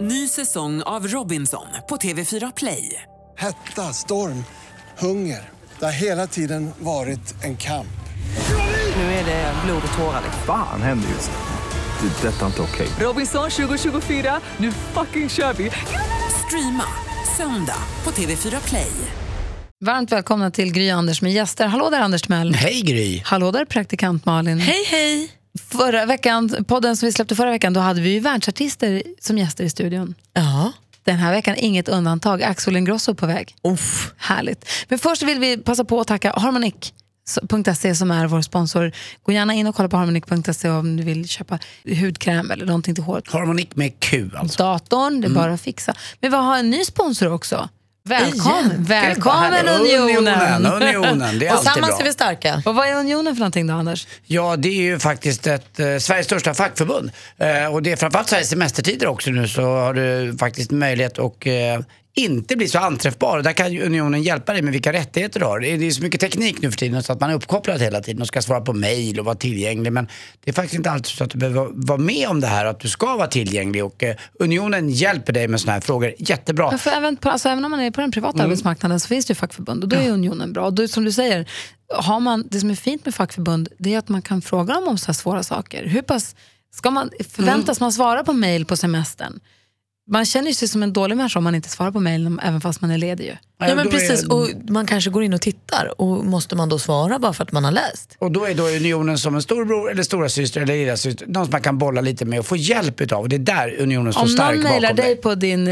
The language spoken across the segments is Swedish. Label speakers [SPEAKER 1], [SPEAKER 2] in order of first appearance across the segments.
[SPEAKER 1] Ny säsong av Robinson på TV4 Play.
[SPEAKER 2] Hetta, storm, hunger. Det har hela tiden varit en kamp.
[SPEAKER 1] Nu är det blod och tårar. liksom.
[SPEAKER 3] Fan händer just nu. Det. är Detta är inte okej.
[SPEAKER 1] Robinson 2024, nu fucking kör vi! Streama söndag på TV4 Play.
[SPEAKER 4] Varmt välkomna till Gry och Anders med gäster. Hallå där Anders Mell.
[SPEAKER 5] Hej Gry!
[SPEAKER 4] Hallå där praktikant Malin.
[SPEAKER 6] Hej, hej!
[SPEAKER 4] Förra veckan, podden som vi släppte förra veckan, då hade vi ju världsartister som gäster i studion.
[SPEAKER 6] Ja.
[SPEAKER 4] Den här veckan inget undantag. Axel Ingrosso på väg.
[SPEAKER 6] Uff.
[SPEAKER 4] Härligt. Men först vill vi passa på att tacka Harmonic.se som är vår sponsor. Gå gärna in och kolla på harmonic.se om du vill köpa hudkräm eller någonting till håret.
[SPEAKER 5] Harmonik med Q alltså.
[SPEAKER 4] Datorn, det är bara att fixa. Men vi har en ny sponsor också. Välkommen, välkommen
[SPEAKER 5] Unionen! Unionen, det är alltid
[SPEAKER 6] Tillsammans
[SPEAKER 5] bra.
[SPEAKER 6] är vi starka.
[SPEAKER 4] Och vad är Unionen för någonting då, Anders?
[SPEAKER 5] Ja, det är ju faktiskt ett, eh, Sveriges största fackförbund. Eh, och det är framförallt så här i semestertider också nu så har du faktiskt möjlighet att eh, inte bli så anträffbar. Där kan ju Unionen hjälpa dig med vilka rättigheter du har. Det är det är så mycket teknik nu för tiden så att man är uppkopplad hela tiden och ska svara på mejl och vara tillgänglig. Men det är faktiskt inte alltid så att du behöver vara med om det här att du ska vara tillgänglig. Och eh, Unionen hjälper dig med sådana här frågor. Jättebra.
[SPEAKER 4] Ja, För även, på, alltså, även om man är på den privata arbetsmarknaden så finns det ju fackförbund och då är unionen bra. Och då, som du säger, har man, det som är fint med fackförbund det är att man kan fråga dem om så här svåra saker. Hur pass ska man, förväntas man svara på mejl på semestern? Man känner ju sig som en dålig människa om man inte svarar på mejl även fast man är ledig. Ju.
[SPEAKER 6] Ja, men
[SPEAKER 5] då är-
[SPEAKER 6] precis. Och man kanske går in och tittar och måste man då svara bara för att man har läst?
[SPEAKER 5] Och då är då unionen som en storbror eller stora syster eller lilla syster, någon som man kan bolla lite med och få hjälp utav. Och det är där unionen står
[SPEAKER 4] Om
[SPEAKER 5] stark
[SPEAKER 4] någon
[SPEAKER 5] bakom
[SPEAKER 4] mejlar dig
[SPEAKER 5] dig.
[SPEAKER 4] på din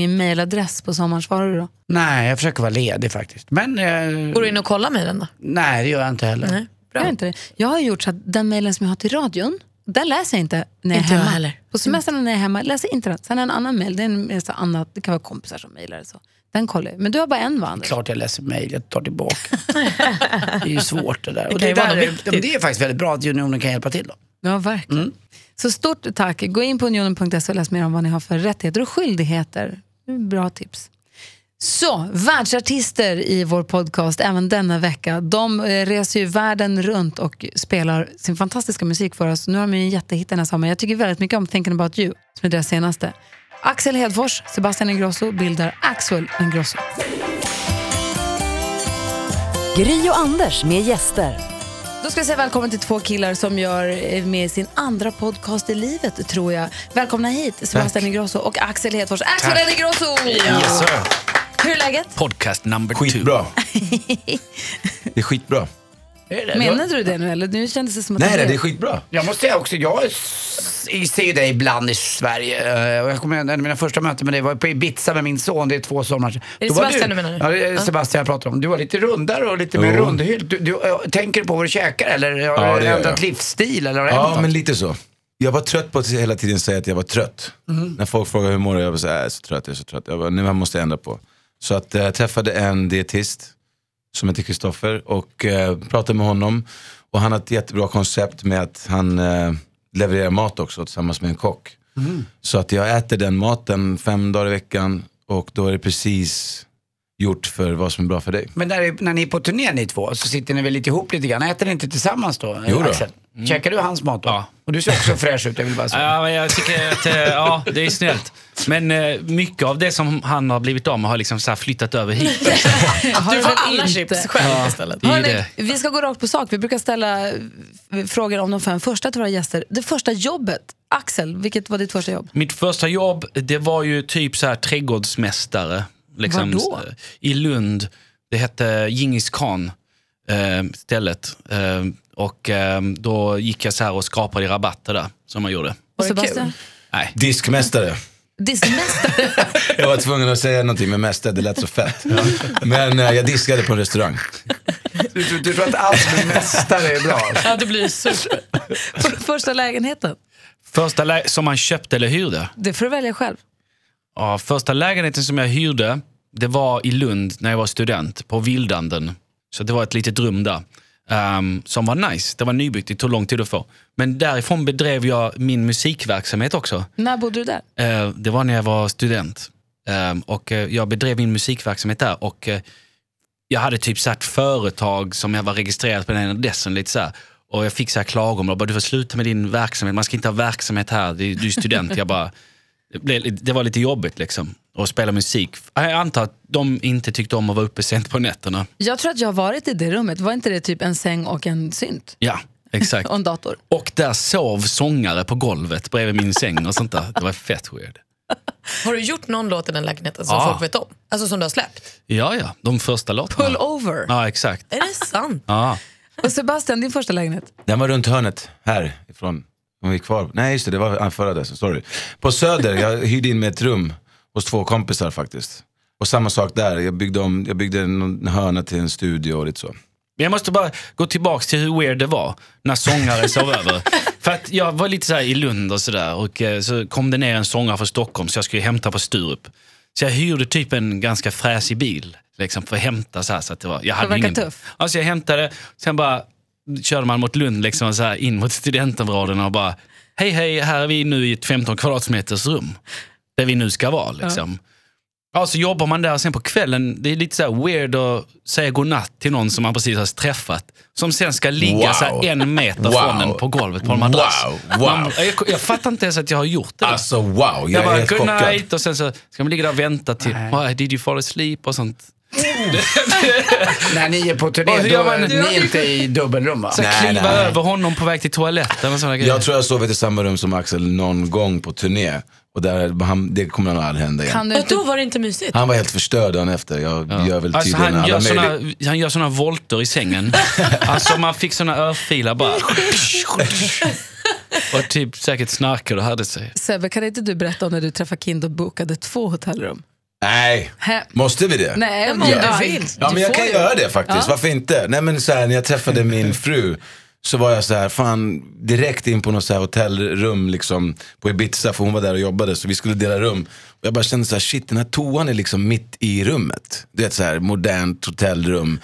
[SPEAKER 4] restaurang-mejladress på sommaren, svarar du då?
[SPEAKER 5] Nej, jag försöker vara ledig faktiskt. Men eh,
[SPEAKER 6] Går du in och kollar mejlen då?
[SPEAKER 5] nej, det gör jag inte heller.
[SPEAKER 6] Nej.
[SPEAKER 4] Jag, inte det. jag har gjort så att den mejlen som jag har till radion, den läser jag inte när jag
[SPEAKER 6] Inte
[SPEAKER 4] är
[SPEAKER 6] jag
[SPEAKER 4] hemma.
[SPEAKER 6] heller.
[SPEAKER 4] På semestern när jag är hemma, läser jag inte den. Sen har jag en annan mejl, det, är en- en sån annat- det kan vara kompisar som mejlar. eller Så. Den kollar jag. Men du har bara en va Anders?
[SPEAKER 5] Klart jag läser mejl, jag tar tillbaka. det är ju svårt det där. Och
[SPEAKER 6] kan
[SPEAKER 5] det,
[SPEAKER 6] ju
[SPEAKER 5] där
[SPEAKER 6] vara
[SPEAKER 5] är,
[SPEAKER 6] viktigt.
[SPEAKER 5] ja, men det är faktiskt väldigt bra att unionen kan hjälpa till. Då.
[SPEAKER 4] Ja, verkligen. Så stort tack. Gå in på unionen.se och läs mer om vad ni har för rättigheter och skyldigheter. Bra tips. Så, världsartister i vår podcast även denna vecka. De eh, reser ju världen runt och spelar sin fantastiska musik för oss. Nu har de ju en jättehit den här sommaren. Jag tycker väldigt mycket om Thinking about you, som är deras senaste. Axel Hedfors, Sebastian Ingrosso bildar Axel Ingrosso.
[SPEAKER 7] Gry och Anders med gäster.
[SPEAKER 4] Då ska jag säga välkommen till två killar som gör eh, med sin andra podcast i livet, tror jag. Välkomna hit, Sebastian Ingrosso och Axel Hedfors. Axel
[SPEAKER 5] Tack.
[SPEAKER 4] Ingrosso! Hur är läget?
[SPEAKER 8] Podcast number two.
[SPEAKER 9] Skitbra. Det är skitbra.
[SPEAKER 5] Är det?
[SPEAKER 4] Menar du det nu eller? Nu kändes det som att
[SPEAKER 9] Nej, nej, det är
[SPEAKER 4] det
[SPEAKER 9] skitbra.
[SPEAKER 5] Jag måste säga också, jag s- ser ju dig ibland i Sverige. Eh, och Jag kommer ihåg en av mina första möten med dig var på Ibiza med min son, det är två somrar sedan.
[SPEAKER 6] Är det
[SPEAKER 5] Då var
[SPEAKER 6] Sebastian
[SPEAKER 5] du,
[SPEAKER 6] du menar?
[SPEAKER 5] Ja, det är Sebastian jag pratar om. Du var lite rundare och lite mer
[SPEAKER 9] Jo.
[SPEAKER 5] rundhylt. Du, du, eh, tänker du på vad du käkar eller har
[SPEAKER 9] Ja,
[SPEAKER 5] du
[SPEAKER 9] det gör
[SPEAKER 5] ändrat
[SPEAKER 9] jag.
[SPEAKER 5] livsstil? Eller har det hänt
[SPEAKER 9] Ja,
[SPEAKER 5] något?
[SPEAKER 9] men lite så. Jag var trött på att hela tiden säga att jag var trött. När folk frågar hur mår du? Jag var så här, jag är så trött, jag är så trött. Jag bara, nu måste jag ändra på. Så att eh, jag träffade en dietist som heter Kristoffer och eh, pratade med honom. Och han har ett jättebra koncept med att han eh, levererar mat också tillsammans med en kock. Så att jag äter den maten fem dagar i veckan och då är det precis gjort för vad som är bra för dig.
[SPEAKER 5] Men när, när ni är på turné ni två så sitter ni väl lite ihop lite grann? Äter ni inte tillsammans då?
[SPEAKER 9] Jo då. Mm.
[SPEAKER 5] Axel? Käkar du hans mat då?
[SPEAKER 8] Ja.
[SPEAKER 5] Och du ser också fräsch ut, jag vill bara säga.
[SPEAKER 8] Ja, men jag tycker att eh, ja, det är snällt. Men eh, mycket av det som han har blivit av med har liksom så här flyttat över hit.
[SPEAKER 4] Har
[SPEAKER 6] Du
[SPEAKER 4] väl
[SPEAKER 6] får alla
[SPEAKER 4] inte?
[SPEAKER 6] chips själv istället.
[SPEAKER 8] Det är ju
[SPEAKER 4] Hörni,
[SPEAKER 8] det.
[SPEAKER 4] vi ska gå rakt på sak. Vi brukar ställa eh, frågor om de fem första till våra gäster. Det första jobbet, Axel, vilket var ditt första jobb?
[SPEAKER 8] Mitt första jobb, det var ju typ så här trädgårdsmästare. Liksom,
[SPEAKER 4] Vadå?
[SPEAKER 8] I Lund. Det hette Djingis khan, eh, stället. Eh, och eh, då gick jag så här och skrapade i rabatter där, som man gjorde.
[SPEAKER 4] Och
[SPEAKER 6] det kul?
[SPEAKER 4] Sebastian?
[SPEAKER 8] Nej.
[SPEAKER 9] Diskmästare.
[SPEAKER 4] Diskmästare?
[SPEAKER 9] Jag var tvungen att säga någonting med mästare, det lät så fett. Men eh, jag diskade på en restaurang.
[SPEAKER 5] Du, du, du tror att allt med mästare är bra?
[SPEAKER 6] Ja, det blir super.
[SPEAKER 4] För- första lägenheten?
[SPEAKER 8] Första lä- som man köpte eller hyrde.
[SPEAKER 4] Det får du välja själv.
[SPEAKER 8] Ja, första lägenheten som jag hyrde, det var i Lund när jag var student, på Vildanden. Så det var ett litet rum där. ehm, som var nice. Det var nybyggt, det tog lång tid att få. Men därifrån bedrev jag min musikverksamhet också.
[SPEAKER 4] När bodde du där?
[SPEAKER 8] Eh, det var när jag var student. Ehm, och eh, jag bedrev min musikverksamhet där. Och eh, jag hade typ satt företag som jag var registrerad på den här adressen. Lite så här. Och jag fick så här klagomål. Jag Bara, du får sluta med din verksamhet. Man ska inte ha verksamhet här. Du, du är student. jag bara, det, blev, lite- det var lite jobbigt liksom att spela musik. Jag antar att de inte tyckte om att vara uppe sent på nätterna.
[SPEAKER 4] Jag tror att jag har varit i det rummet. Var inte det typ en säng och en synt?
[SPEAKER 8] Ja, exakt.
[SPEAKER 4] Och en dator?
[SPEAKER 8] Och där sov sångare på golvet bredvid min säng och sånt där. Det var fett weird.
[SPEAKER 6] Har du gjort någon låt i den lägenheten som
[SPEAKER 8] Ja.
[SPEAKER 6] folk vet om? Alltså som du har släppt?
[SPEAKER 8] Ja, ja. De första låtarna.
[SPEAKER 4] Pull over.
[SPEAKER 8] Ja, exakt.
[SPEAKER 6] Är det sant?
[SPEAKER 8] Ja.
[SPEAKER 4] Och Sebastian, din första lägenhet?
[SPEAKER 9] Den var runt hörnet härifrån. Om vi är kvar. Nej just det, det var anförande. så Sorry. På Söder, jag hyrde in mig ett rum hos två kompisar faktiskt. Och samma sak där, jag byggde, om, jag byggde en hörna till en studio och lite så.
[SPEAKER 8] Men Jag måste bara gå tillbaka till hur weird det var när sångare sov över. För att jag var lite så här i Lund och sådär och eh, så kom det ner en sångare från Stockholm så jag skulle hämta på Sturup. Så jag hyrde typ en ganska fräsig bil liksom, för att hämta så här. Så att det var, jag hade
[SPEAKER 4] verkar
[SPEAKER 8] ingen...
[SPEAKER 4] tuff.
[SPEAKER 8] Alltså jag hämtade, sen bara körde man mot Lund liksom, och så här, in mot studentområdena och bara hej hej, här är vi nu i ett 15 kvadratmeters rum. Där vi nu ska vara liksom. Ja, så jobbar man där sen på kvällen. Det är lite så här weird att säga godnatt till någon som man precis har träffat. Som sen ska ligga
[SPEAKER 9] Wow.
[SPEAKER 8] så här en meter från en på golvet på en madrass.
[SPEAKER 9] Wow, wow.
[SPEAKER 8] Man, jag, jag fattar inte ens att jag har gjort det.
[SPEAKER 9] Alltså wow, jag,
[SPEAKER 8] jag
[SPEAKER 9] är
[SPEAKER 8] bara,
[SPEAKER 9] helt
[SPEAKER 8] good
[SPEAKER 9] chockad.
[SPEAKER 8] night och sen så ska man ligga där och vänta till, "Why did you fall asleep och sånt.
[SPEAKER 5] När ni är på
[SPEAKER 8] Och
[SPEAKER 5] turné,
[SPEAKER 8] hur
[SPEAKER 5] då
[SPEAKER 8] gör man-
[SPEAKER 5] är ni inte i dubbelrum va?
[SPEAKER 8] Så
[SPEAKER 9] Nej,
[SPEAKER 8] kliva
[SPEAKER 9] nej.
[SPEAKER 8] över honom på väg till toaletten och sådana grejer.
[SPEAKER 9] Jag tror jag sovit i samma rum som Axel någon gång på turné. Och där, han, det kommer nog aldrig hända igen.
[SPEAKER 4] Kan du
[SPEAKER 6] Och
[SPEAKER 4] inte...
[SPEAKER 6] då var det inte mysigt.
[SPEAKER 9] Han var helt förstörd dagen efter. Jag gör väl
[SPEAKER 8] Alltså,
[SPEAKER 9] tydligen
[SPEAKER 8] han, gör
[SPEAKER 9] alla
[SPEAKER 8] såna,
[SPEAKER 9] möjliga...
[SPEAKER 8] han gör såna volter i sängen. alltså man fick såna örfilar bara. och typ säkert snarkade och hade sig.
[SPEAKER 4] Sebbe, kan inte du berätta om när du träffade Kind och bokade två hotellrum?
[SPEAKER 9] Nej,
[SPEAKER 4] Hä?
[SPEAKER 9] måste vi det?
[SPEAKER 4] Nej, men
[SPEAKER 9] Ja.
[SPEAKER 4] du
[SPEAKER 6] vill.
[SPEAKER 9] Ja, men jag
[SPEAKER 4] får
[SPEAKER 9] kan
[SPEAKER 4] ju.
[SPEAKER 9] göra det faktiskt. Varför inte? Nej, men så här, när jag träffade min fru så var jag så här, fan, direkt in på något så här hotellrum liksom, på Ibiza, för hon var där och jobbade, så vi skulle dela rum. Och jag bara kände så här, shit, den här toan är liksom mitt i rummet. Du vet, så här modernt hotellrum.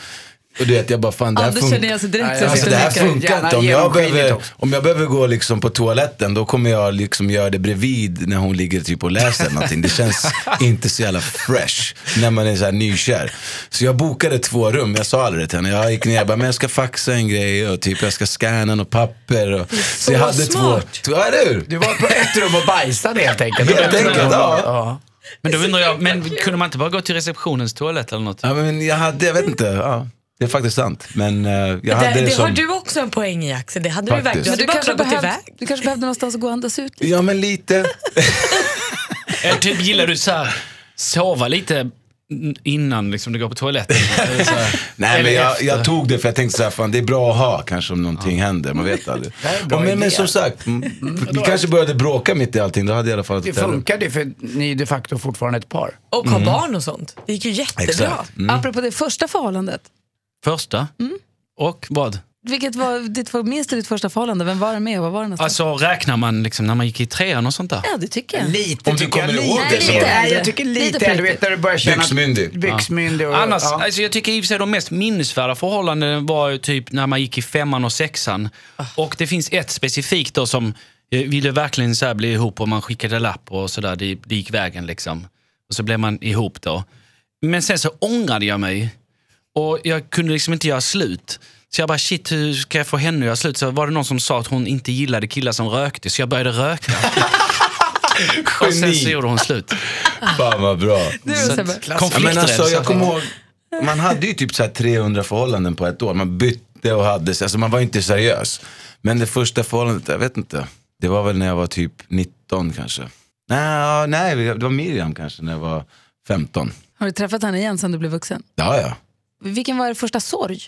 [SPEAKER 9] Och du vet, jag bara, fan, det här
[SPEAKER 4] Anders känner
[SPEAKER 9] funkar.
[SPEAKER 4] jag sig direkt
[SPEAKER 5] Nej,
[SPEAKER 4] så
[SPEAKER 5] jag-
[SPEAKER 9] Alltså,
[SPEAKER 4] sitter
[SPEAKER 9] det
[SPEAKER 4] och
[SPEAKER 9] här
[SPEAKER 4] nickar.
[SPEAKER 9] funkar
[SPEAKER 5] Gärna
[SPEAKER 9] inte. Om jag,
[SPEAKER 5] genomskinligt
[SPEAKER 9] behöver,
[SPEAKER 5] också.
[SPEAKER 9] om jag behöver gå liksom på toaletten då kommer jag liksom göra det bredvid när hon ligger typ och läser eller någonting. Det känns inte så jävla fresh när man är så här nykär. Så jag bokade två rum, jag sa aldrig det till henne. Jag gick ner och bara, men jag ska faxa en grej och typ jag ska scanna något papper. Och, så jag hade
[SPEAKER 6] smart.
[SPEAKER 9] två. två eller hur?
[SPEAKER 5] Du var på ett rum och bajsade helt enkelt.
[SPEAKER 9] Helt enkelt, ja.
[SPEAKER 8] Men då undrar jag, men kunde man inte bara gå till receptionens toalett eller något?
[SPEAKER 9] Ja, men jag hade, jag vet inte. Ja, det är faktiskt sant. Men eh, jag hade
[SPEAKER 6] det
[SPEAKER 9] det,
[SPEAKER 6] det
[SPEAKER 9] som...
[SPEAKER 6] har du också en poäng i Axel. Det hade
[SPEAKER 9] Faktiskt.
[SPEAKER 6] du verkligen. Du
[SPEAKER 4] Men Du
[SPEAKER 6] hade bara
[SPEAKER 4] kanske,
[SPEAKER 6] kunnat gått
[SPEAKER 4] behövde,
[SPEAKER 6] iväg.
[SPEAKER 4] du kanske behövde någonstans att gå och andas ut.
[SPEAKER 9] Ja, men lite.
[SPEAKER 8] Eller typ gillar du så här, sova lite innan liksom, du går på toaletten? Eller så här,
[SPEAKER 9] Nej
[SPEAKER 8] eller
[SPEAKER 9] men jag,
[SPEAKER 8] efter?
[SPEAKER 9] jag tog det för jag tänkte så här, fan det är bra att ha kanske om någonting händer, man vet aldrig.
[SPEAKER 5] Det här är en bra
[SPEAKER 9] Och men, men
[SPEAKER 5] idé.
[SPEAKER 9] som sagt, mm, vi kanske började bråka mitt i allting, då hade jag i alla fall ett
[SPEAKER 5] Det
[SPEAKER 9] hotellrum.
[SPEAKER 5] funkade ju för ni är de facto fortfarande ett par.
[SPEAKER 6] Och ha barn och sånt. Det gick ju jättebra.
[SPEAKER 9] Exakt.
[SPEAKER 4] Apropå det första förhållandet.
[SPEAKER 8] Första? Och vad?
[SPEAKER 4] Vilket var ditt, minst ditt första förhållande? Vem var det med och vad var det någonstans?
[SPEAKER 8] Alltså räknar man liksom när man gick i trean och sånt
[SPEAKER 9] Alltså-
[SPEAKER 8] där?
[SPEAKER 4] ja, det tycker jag.
[SPEAKER 5] Lite
[SPEAKER 9] Om du
[SPEAKER 5] tycker jag,
[SPEAKER 9] kommer ihåg
[SPEAKER 5] lite,
[SPEAKER 9] det så.
[SPEAKER 5] lite, Nej, jag tycker
[SPEAKER 4] Lite
[SPEAKER 5] lite, du vet
[SPEAKER 4] präktigt.
[SPEAKER 5] när du börjar känna...
[SPEAKER 9] Byxmyndig.
[SPEAKER 5] Byxmyndig. Och,
[SPEAKER 8] Annars,
[SPEAKER 5] ja.
[SPEAKER 8] alltså jag tycker i och för sig de mest minnesvärda förhållanden var ju typ när man gick i femman och sexan.
[SPEAKER 5] Ah.
[SPEAKER 8] Och det finns ett specifikt då som eh, ville verkligen så här bli ihop och man skickade lapp och sådär. Det, det gick vägen liksom. Och så blev man ihop då. Men sen så ångrade jag mig och jag kunde liksom inte göra slut. Så jag bara shit, hur ska jag få henne att göra slut? Så var det någon som sa att hon inte gillade killar som rökte, så jag började röka. och sen så
[SPEAKER 9] Geni.
[SPEAKER 8] gjorde hon slut.
[SPEAKER 5] Ah.
[SPEAKER 9] Fan vad bra.
[SPEAKER 4] Du, Sebbe.
[SPEAKER 9] Ja, men alltså,
[SPEAKER 8] Konflikträdsla.
[SPEAKER 9] jag kommer ihåg, man hade ju typ så här 300 förhållanden på ett år, man bytte och hade, sig. alltså man var ju inte seriös. Men det första förhållandet, jag vet inte, det var väl när jag var typ 19 kanske. Nej, ja, nej det var Miriam kanske när jag var 15.
[SPEAKER 4] Har du träffat henne igen sen du blev vuxen?
[SPEAKER 9] Ja, ja.
[SPEAKER 4] Vilken var er första sorg?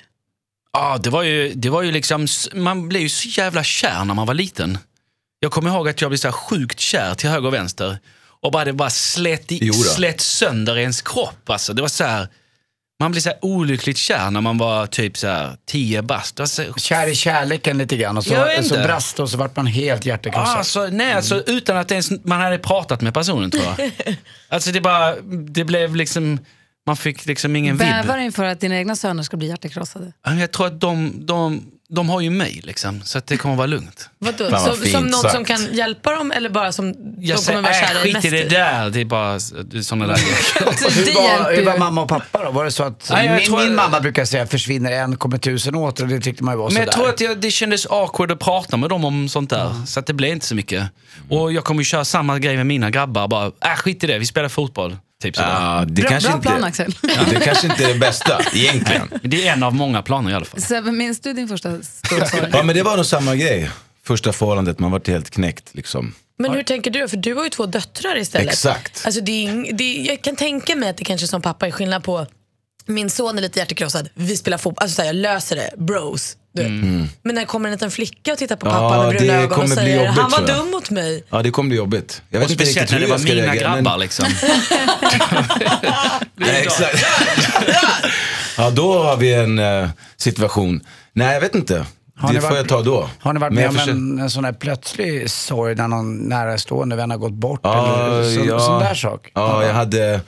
[SPEAKER 8] Ja, det var ju, det var ju liksom, s- man blev ju så jävla kär när man var liten. Jag kommer ihåg att jag blev så här sjukt kär till höger och vänster. Och bara, det bara slet, i,
[SPEAKER 9] Jo då.
[SPEAKER 8] slet sönder ens kropp. Alltså, det var så här, man blev så här olyckligt kär när man var typ så här 10 bast. Det var så,
[SPEAKER 5] Kär i kärleken lite grann och
[SPEAKER 8] Jag
[SPEAKER 5] så,
[SPEAKER 8] vet
[SPEAKER 5] så
[SPEAKER 8] inte.
[SPEAKER 5] brast det och så vart man helt hjärtekrossad.
[SPEAKER 8] alltså, nej, alltså,
[SPEAKER 9] Mm.
[SPEAKER 8] utan att ens man hade pratat med personen tror jag. alltså det bara, det blev liksom, man fick liksom ingen vibb.
[SPEAKER 4] Bävar inför att dina egna söner ska bli hjärtekrossade?
[SPEAKER 8] Ja, men Jag tror att de, de de har ju mig liksom, så att det kommer vara lugnt.
[SPEAKER 6] Vadå?
[SPEAKER 9] Fan, vad
[SPEAKER 6] som,
[SPEAKER 9] fint
[SPEAKER 6] som något
[SPEAKER 9] sagt.
[SPEAKER 6] som kan hjälpa dem eller bara som
[SPEAKER 8] Jag
[SPEAKER 6] de kommer vara
[SPEAKER 8] säger,
[SPEAKER 6] kära
[SPEAKER 8] äh,
[SPEAKER 6] i
[SPEAKER 8] skit
[SPEAKER 6] mest
[SPEAKER 8] i det där. Det är bara sådana där grejer.
[SPEAKER 5] Hur
[SPEAKER 4] Det hjälper
[SPEAKER 5] var, hur var
[SPEAKER 4] ju.
[SPEAKER 5] mamma och pappa då? Var det så att,
[SPEAKER 8] Nej, jag
[SPEAKER 5] min,
[SPEAKER 8] tror-
[SPEAKER 5] min mamma brukar säga försvinner en kommer tusen åter och det tyckte man ju var
[SPEAKER 8] Men jag tror
[SPEAKER 5] sådär.
[SPEAKER 8] att jag, det kändes awkward att prata med dem om sånt där. Så att det blev inte så mycket. Och jag kommer ju köra samma grej med mina grabbar. Bara, äh, skit i det, vi spelar fotboll. Typ sådär.
[SPEAKER 9] Ja, det,
[SPEAKER 4] Bra-
[SPEAKER 9] kanske
[SPEAKER 4] bra
[SPEAKER 9] inte,
[SPEAKER 4] plan, Axel.
[SPEAKER 9] det kanske inte är det bästa egentligen.
[SPEAKER 8] Men Det är en av många planer i alla fall.
[SPEAKER 4] Sebbe, minns du din första storsorg?
[SPEAKER 9] Ja men det var nog samma grej. Första förhållandet, man var helt knäckt liksom.
[SPEAKER 6] Men hur tänker du? För du har ju två döttrar istället.
[SPEAKER 9] Exakt.
[SPEAKER 6] Alltså det är, ing- det är, jag kan tänka mig att det kanske som pappa är skillnad på min son är lite hjärtekrossad, vi spelar fotboll, alltså så här, jag löser det, bros. Du. vet. Men när kommer en liten flicka och tittar på pappa
[SPEAKER 9] Mm. Ja,
[SPEAKER 6] med bruna
[SPEAKER 9] det
[SPEAKER 6] ögon och
[SPEAKER 9] kommer bli
[SPEAKER 6] säger
[SPEAKER 9] jobbigt,
[SPEAKER 6] han var
[SPEAKER 9] tror jag."
[SPEAKER 6] dum mot mig.
[SPEAKER 9] Ja det kommer bli jobbigt. Jag vet
[SPEAKER 8] Och
[SPEAKER 9] inte
[SPEAKER 8] speciellt
[SPEAKER 9] riktigt
[SPEAKER 8] när
[SPEAKER 9] hur
[SPEAKER 8] det
[SPEAKER 9] jag ska
[SPEAKER 8] var mina
[SPEAKER 9] reagera. men-
[SPEAKER 8] grabbar liksom.
[SPEAKER 9] Nej, exakt. ja då har vi en eh, situation. Nej jag vet inte.
[SPEAKER 5] ni
[SPEAKER 9] det får
[SPEAKER 5] varit-
[SPEAKER 9] jag ta då.
[SPEAKER 5] Har ni varit
[SPEAKER 9] Men
[SPEAKER 5] med
[SPEAKER 9] jag
[SPEAKER 5] om
[SPEAKER 9] försöker-
[SPEAKER 5] en, en sån här plötslig sorg när någon närstående vän har gått bort?
[SPEAKER 9] Ja,
[SPEAKER 5] eller, så,
[SPEAKER 9] ja.
[SPEAKER 5] Sån där sak.
[SPEAKER 9] Ja, jag hade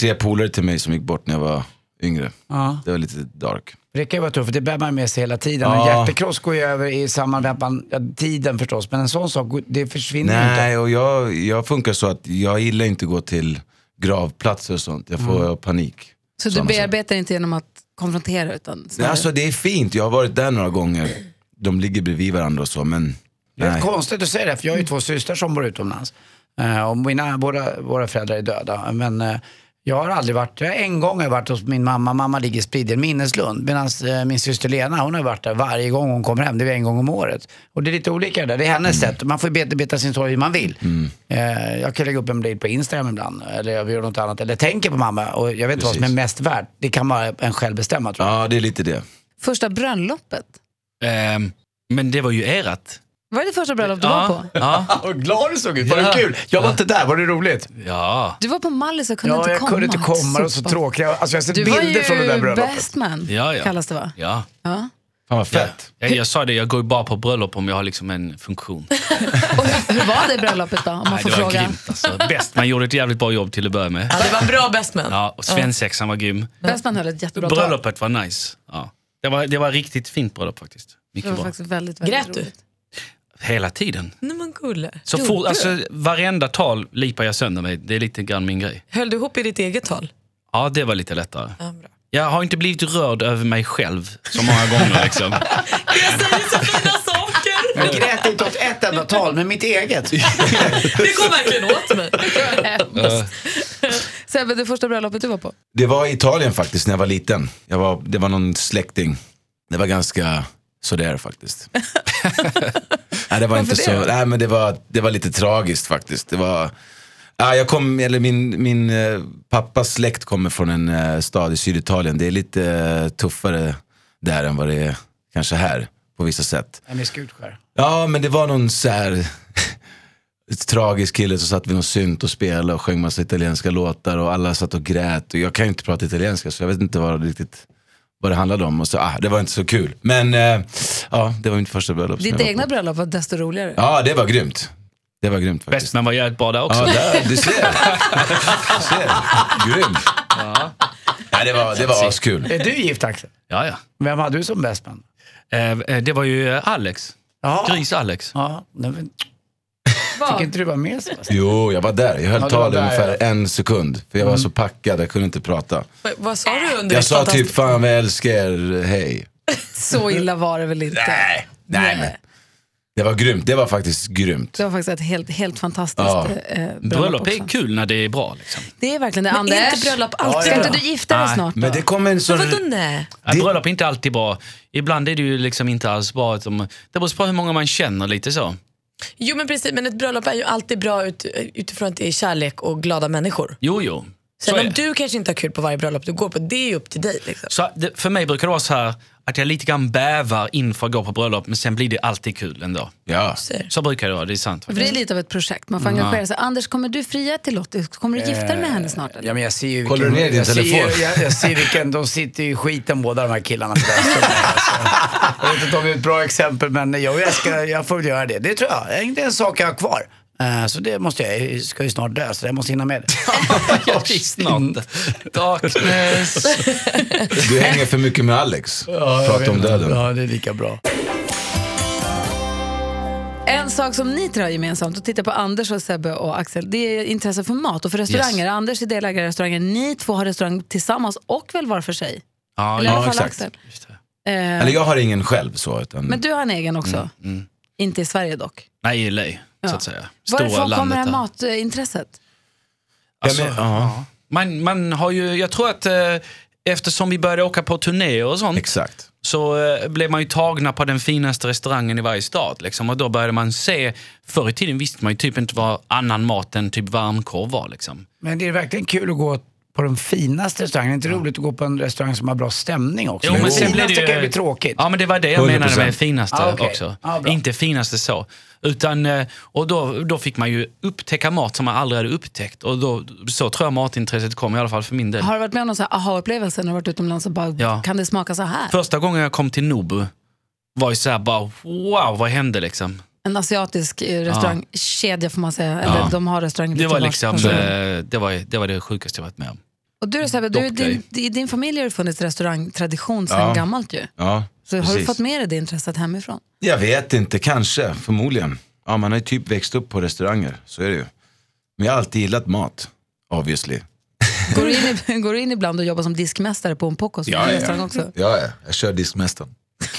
[SPEAKER 9] tre polare till mig som gick bort när jag var yngre. Det var lite dark.
[SPEAKER 5] Det kan ju vara tufft, det bär man med sig hela tiden. En
[SPEAKER 9] Ja.
[SPEAKER 5] hjärtekross går ju över i samband med att man, ja, tiden förstås, men en sån sak, går- det försvinner ju inte.
[SPEAKER 9] Nej, och jag, jag funkar så att jag gillar inte att gå till gravplatser och sånt. Jag får panik.
[SPEAKER 4] Så du
[SPEAKER 9] Såna
[SPEAKER 4] bearbetar inte genom att konfrontera utan
[SPEAKER 9] Nej,
[SPEAKER 4] snarare-
[SPEAKER 9] alltså det är fint, jag har varit där några gånger. De ligger bredvid varandra och så, men...
[SPEAKER 5] Det är
[SPEAKER 9] Nej. Mm.
[SPEAKER 5] konstigt att säga det, för jag har ju två systrar som bor utomlands. Eh, Och mina, båda våra föräldrar är döda. Men eh, jag har aldrig varit, jag har en gång har jag varit hos min mamma, mamma ligger spridd i en minneslund. Medan eh, min syster Lena, hon har varit där varje gång hon kommer hem, det är en gång om året. Och det är lite olika det där, det är hennes
[SPEAKER 9] Mm.
[SPEAKER 5] sätt. Man får ju bearbeta sin sorg hur man vill. Eh, Jag kan lägga upp en bild på Instagram ibland, eller jag gör något annat, eller tänker på mamma. Och jag vet inte vad som är
[SPEAKER 9] Precis.
[SPEAKER 5] mest värt, det kan vara en själv bestämma tror jag.
[SPEAKER 9] Ja, det är lite det.
[SPEAKER 4] Första bröllopet?
[SPEAKER 8] Ehm, men det var ju erat.
[SPEAKER 4] Var det det första bröllop du var på?
[SPEAKER 8] ja,
[SPEAKER 5] Vad glad du såg ut,
[SPEAKER 8] Var det kul?
[SPEAKER 5] Jag var inte där, var det roligt?
[SPEAKER 8] ja,
[SPEAKER 4] Du var på Mallis och kunde
[SPEAKER 5] Ja,
[SPEAKER 4] inte
[SPEAKER 5] jag
[SPEAKER 4] komma.
[SPEAKER 5] kunde inte komma, det var så
[SPEAKER 4] Sopa.
[SPEAKER 5] tråkigt. Alltså jag har sett
[SPEAKER 4] Du var
[SPEAKER 5] bilder
[SPEAKER 4] ju
[SPEAKER 5] från det där bröllopet.
[SPEAKER 4] best man,
[SPEAKER 8] Ja, ja.
[SPEAKER 4] kallas det va?
[SPEAKER 8] ja.
[SPEAKER 4] Ja.
[SPEAKER 9] Fan vad fett.
[SPEAKER 8] Jag, jag sa det, jag går ju bara på bröllop om jag har liksom en funktion.
[SPEAKER 4] Och hur, hur var det bröllopet då, om man
[SPEAKER 8] Nej,
[SPEAKER 4] får
[SPEAKER 8] det var
[SPEAKER 4] fråga?
[SPEAKER 8] grymt alltså. Bäst, man gjorde ett jävligt bra jobb till att börja med.
[SPEAKER 6] Ja, det var en bra bestman.
[SPEAKER 8] Ja, och svensexan var grym.
[SPEAKER 4] Best man höll ett jättebra tal.
[SPEAKER 8] Bröllopet var nice. Ja. Det, var, det var riktigt fint bröllop faktiskt.
[SPEAKER 4] Det
[SPEAKER 8] Mycket
[SPEAKER 4] var
[SPEAKER 8] bra.
[SPEAKER 4] faktiskt väldigt, väldigt
[SPEAKER 6] Grät du?
[SPEAKER 4] roligt.
[SPEAKER 8] Hela tiden.
[SPEAKER 6] Nej, men gulle.
[SPEAKER 8] Så
[SPEAKER 6] Gjorde
[SPEAKER 8] fort,
[SPEAKER 6] du?
[SPEAKER 8] alltså, varenda tal lipar jag sönder mig. Det är lite grann min grej.
[SPEAKER 6] Höll du ihop i ditt eget tal?
[SPEAKER 8] Ja, det var lite lättare.
[SPEAKER 6] Ja, bra.
[SPEAKER 8] Jag har inte blivit rörd över mig själv så många gånger. Liksom.
[SPEAKER 6] Jag säger så fina saker!
[SPEAKER 5] Jag grät inte åt ett enda tal, men mitt eget.
[SPEAKER 6] Det går verkligen åt mig.
[SPEAKER 4] Sebbe, det första bröllopet du var på?
[SPEAKER 9] Det var i Italien faktiskt när jag var liten. Jag var, det var någon släkting. Det var ganska sådär faktiskt. nej, det var inte
[SPEAKER 4] Varför det
[SPEAKER 9] så.
[SPEAKER 4] då?
[SPEAKER 9] Nej, men det var, det var lite tragiskt faktiskt. Det var, ah, jag kom, eller min, min eh, pappas släkt kommer från en eh, stad i Syditalien. Det är lite eh, tuffare där än vad det är kanske här på vissa sätt.
[SPEAKER 5] Nej, men Skutskär.
[SPEAKER 9] Ja, men det var någon så här ett tragisk kille som satt vid någon synt och spelade och sjöng massa italienska låtar och alla satt och grät. Och jag kan ju inte prata italienska så jag vet inte vad det riktigt vad det handlade om. Och så, ah, det var inte så kul. Men eh, ja, det var mitt första bröllop. som
[SPEAKER 4] Ditt
[SPEAKER 9] jag var
[SPEAKER 4] egna
[SPEAKER 9] på.
[SPEAKER 4] bröllop var desto roligare.
[SPEAKER 9] Ja, det var grymt. Det var grymt faktiskt.
[SPEAKER 8] Bestman var jävligt bra där också.
[SPEAKER 9] Ja, där, du ser. Du ser. Grymt. Ja, det var, det var askul.
[SPEAKER 5] Är du gift Axel?
[SPEAKER 8] Ja, ja.
[SPEAKER 5] Vem hade du som bäst man?
[SPEAKER 8] Eh, eh, det var ju eh, Alex.
[SPEAKER 5] Ja.
[SPEAKER 8] Gris-Alex.
[SPEAKER 5] Ja, nej, men,
[SPEAKER 4] Vad?
[SPEAKER 5] fick inte du vara med Sebastian?
[SPEAKER 9] Jo, jag var där. Jag höll
[SPEAKER 5] Ja, Mm. du var
[SPEAKER 9] tal i
[SPEAKER 5] där,
[SPEAKER 9] ungefär en sekund. För jag var så packad, jag kunde inte prata.
[SPEAKER 6] Vad- Vad sa du under
[SPEAKER 9] Jag
[SPEAKER 6] ditt
[SPEAKER 9] sa typ,
[SPEAKER 6] fantastiska-
[SPEAKER 9] fan vad jag älskar er, hej.
[SPEAKER 4] Så illa var det väl inte?
[SPEAKER 9] Nej, nej men. Det var grymt, det var faktiskt grymt.
[SPEAKER 4] Det var faktiskt ett helt, helt fantastiskt
[SPEAKER 9] Ja.
[SPEAKER 4] eh, bröllop,
[SPEAKER 8] Bröllop
[SPEAKER 4] också.
[SPEAKER 8] är kul när det är bra. Liksom.
[SPEAKER 4] Det är verkligen det.
[SPEAKER 6] Men
[SPEAKER 4] Anders,
[SPEAKER 6] är inte bröllop alltid
[SPEAKER 4] ska
[SPEAKER 6] bra?
[SPEAKER 4] inte du gifta dig
[SPEAKER 8] Nej,
[SPEAKER 4] snart?
[SPEAKER 9] Men
[SPEAKER 4] då?
[SPEAKER 9] det kom en sån...
[SPEAKER 6] Vadå nej?
[SPEAKER 8] Ja,
[SPEAKER 9] Det-
[SPEAKER 8] Eh, Bröllop är inte alltid bra. Ibland är det ju liksom inte alls bra. att de- Det beror på hur många man känner lite så.
[SPEAKER 6] Jo men precis, men ett bröllop är ju alltid bra ut, utifrån att det är kärlek och glada människor.
[SPEAKER 8] Jo, jo. Så
[SPEAKER 6] Sen
[SPEAKER 8] är
[SPEAKER 6] om
[SPEAKER 8] det.
[SPEAKER 6] du kanske inte har kul på varje bröllop du går på, det är ju upp till dig. Liksom.
[SPEAKER 8] Så det, för mig brukar det vara så här att jag lite grann bävar inför att gå på bröllop, men sen blir det alltid kul ändå.
[SPEAKER 9] Ja.
[SPEAKER 8] Så brukar det vara, det är sant.
[SPEAKER 4] För det är lite av ett projekt, man får engagera sig. Anders, kommer du fria till Lottie? Kommer du gifta dig med henne snart? Eller?
[SPEAKER 5] Ja, men jag ser ju
[SPEAKER 9] Kollar du ner din
[SPEAKER 5] jag ser ju-
[SPEAKER 9] telefon?
[SPEAKER 5] Jag, jag ser vilken, de sitter ju i skiten båda de här killarna på den här stunden, alltså. Jag vet inte om det är ett bra exempel men jag, jag, ska, jag får väl göra det. Det tror jag, det är en sak jag har kvar. Eh, Så det måste jag, jag ska ju snart dö så jag måste hinna med det.
[SPEAKER 8] Jag är
[SPEAKER 4] Mm.
[SPEAKER 8] snart. Darkness.
[SPEAKER 9] Du hänger för mycket med Alex. Prata om döden.
[SPEAKER 5] Ja, det är lika bra.
[SPEAKER 4] En sak som ni tre har gemensamt, och titta på Anders och Sebbe och Axel, det är intresse för mat och för restauranger. Anders är delägare i restauranger, ni två har restaurang tillsammans och väl var för sig.
[SPEAKER 8] Ja,
[SPEAKER 4] Eller i alla
[SPEAKER 8] ja,
[SPEAKER 4] fall
[SPEAKER 9] exakt.
[SPEAKER 4] Axel.
[SPEAKER 8] just det.
[SPEAKER 4] Eh,
[SPEAKER 9] Eller jag har ingen själv så. Utan,
[SPEAKER 4] Men du har en egen också,
[SPEAKER 8] mm.
[SPEAKER 4] inte i Sverige dock.
[SPEAKER 8] Nej, i LA, så att säga. Stora
[SPEAKER 4] Varifrån kommer
[SPEAKER 8] landet
[SPEAKER 4] det här
[SPEAKER 8] där.
[SPEAKER 4] matintresset?
[SPEAKER 8] Alltså,
[SPEAKER 9] Ja, men- ja.
[SPEAKER 8] man, man har ju, jag tror att eh, eftersom vi började åka på turnéer och sånt
[SPEAKER 9] Exakt.
[SPEAKER 8] så eh, blev man ju tagna på den finaste restaurangen i varje stad. Liksom. Och då började man se, förr i tiden visste man ju typ inte vad annan mat än typ varmkorv var. Liksom.
[SPEAKER 5] Men det är verkligen kul att gå på de finaste restaurangerna. Det är inte roligt att gå på en restaurang som har bra stämning också.
[SPEAKER 8] Jo,
[SPEAKER 5] De
[SPEAKER 8] men sen blev
[SPEAKER 5] finaste
[SPEAKER 8] det ju...
[SPEAKER 5] kan ju bli tråkigt.
[SPEAKER 8] Ja, men det var det jag menade
[SPEAKER 9] 100%.
[SPEAKER 8] med finaste
[SPEAKER 5] Ah, okej.
[SPEAKER 8] också.
[SPEAKER 5] Ah, bra.
[SPEAKER 8] inte finaste så. Utan, eh, och då, då fick man ju upptäcka mat som man aldrig hade upptäckt. Och då, så tror jag matintresset kom, i alla fall för min del.
[SPEAKER 5] Ah.
[SPEAKER 4] Har du varit med om någon sån här aha-upplevelse när du varit utomlands och bara,
[SPEAKER 8] Ja.
[SPEAKER 4] kan det smaka så här?
[SPEAKER 8] Första gången jag kom till Nobu var ju såhär bara wow, vad hände liksom?
[SPEAKER 4] En asiatisk eh, restaurangkedja får man säga, eller
[SPEAKER 8] Ja.
[SPEAKER 4] de har restauranger
[SPEAKER 8] Det
[SPEAKER 4] lite
[SPEAKER 8] var
[SPEAKER 4] vars
[SPEAKER 8] liksom,
[SPEAKER 4] person.
[SPEAKER 8] eh, det var det, var det sjukaste jag varit med om.
[SPEAKER 4] Och du Sebbe, du, i
[SPEAKER 8] Dock dig.
[SPEAKER 4] din, i din familj har det funnits restaurangtradition sedan
[SPEAKER 9] Ja.
[SPEAKER 4] gammalt ju.
[SPEAKER 9] Ja,
[SPEAKER 4] Så har du
[SPEAKER 9] precis.
[SPEAKER 4] fått med dig det intresset hemifrån?
[SPEAKER 9] Jag vet inte, kanske, förmodligen. Ja, man har ju typ växt upp på restauranger, så är det ju. Men jag har alltid gillat mat, obviously.
[SPEAKER 4] Går du in, i- går du in ibland och jobbar som diskmästare på en pokos på en restaurang också?
[SPEAKER 9] Ja, ja. jag kör diskmästaren.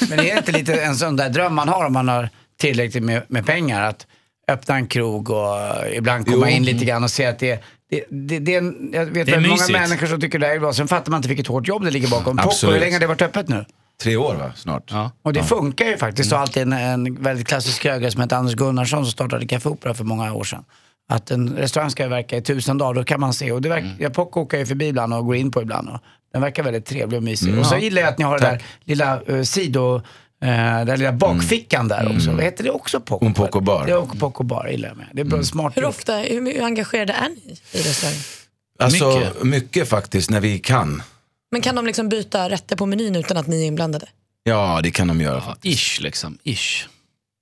[SPEAKER 5] Men det är inte lite en sån där dröm man har om man har tillräckligt med, med pengar? Att öppna en krog och eh, ibland komma
[SPEAKER 9] Jo.
[SPEAKER 5] in lite grann och se att det det, det, det är en, jag vet
[SPEAKER 8] Det är
[SPEAKER 5] väldigt många
[SPEAKER 8] mysigt.
[SPEAKER 5] människor som tycker det här är bra, sen fattar man inte vilket hårt jobb det ligger bakom. Poco,
[SPEAKER 9] Absolut.
[SPEAKER 5] hur länge har det varit öppet nu?
[SPEAKER 9] Tre år va, snart?
[SPEAKER 8] Ja.
[SPEAKER 5] Och det funkar ju faktiskt.
[SPEAKER 9] Mm.
[SPEAKER 5] Och alltid en, en väldigt klassisk krögare som heter Anders Gunnarsson som startade Café Opera för många år sedan. Att en restaurang ska verka i tusen dagar, då kan man se. Och det
[SPEAKER 9] Mm.
[SPEAKER 5] verkar, jag Poco åker ju förbi ibland och går in på ibland. Och den verkar väldigt trevlig och
[SPEAKER 9] Mm.
[SPEAKER 5] mysig. Och så gillar jag att ni har det där lilla eh, sido... Eh, den där lilla bakfickan
[SPEAKER 9] Mm.
[SPEAKER 5] där också. Vad heter det också? Poco?
[SPEAKER 9] En Poco Bar.
[SPEAKER 5] Det är också Poco Bar, gillar jag med. Det är
[SPEAKER 9] Mm.
[SPEAKER 5] bra, smart
[SPEAKER 6] Hur
[SPEAKER 5] gjort.
[SPEAKER 6] ofta, hur, hur engagerade är ni i restaurangen?
[SPEAKER 9] Alltså,
[SPEAKER 8] Mycket.
[SPEAKER 9] mycket. faktiskt, när vi kan.
[SPEAKER 6] Men kan de liksom byta rätter på menyn utan att ni är inblandade?
[SPEAKER 9] Ja, det kan de göra.
[SPEAKER 8] Ja, ish liksom, ish.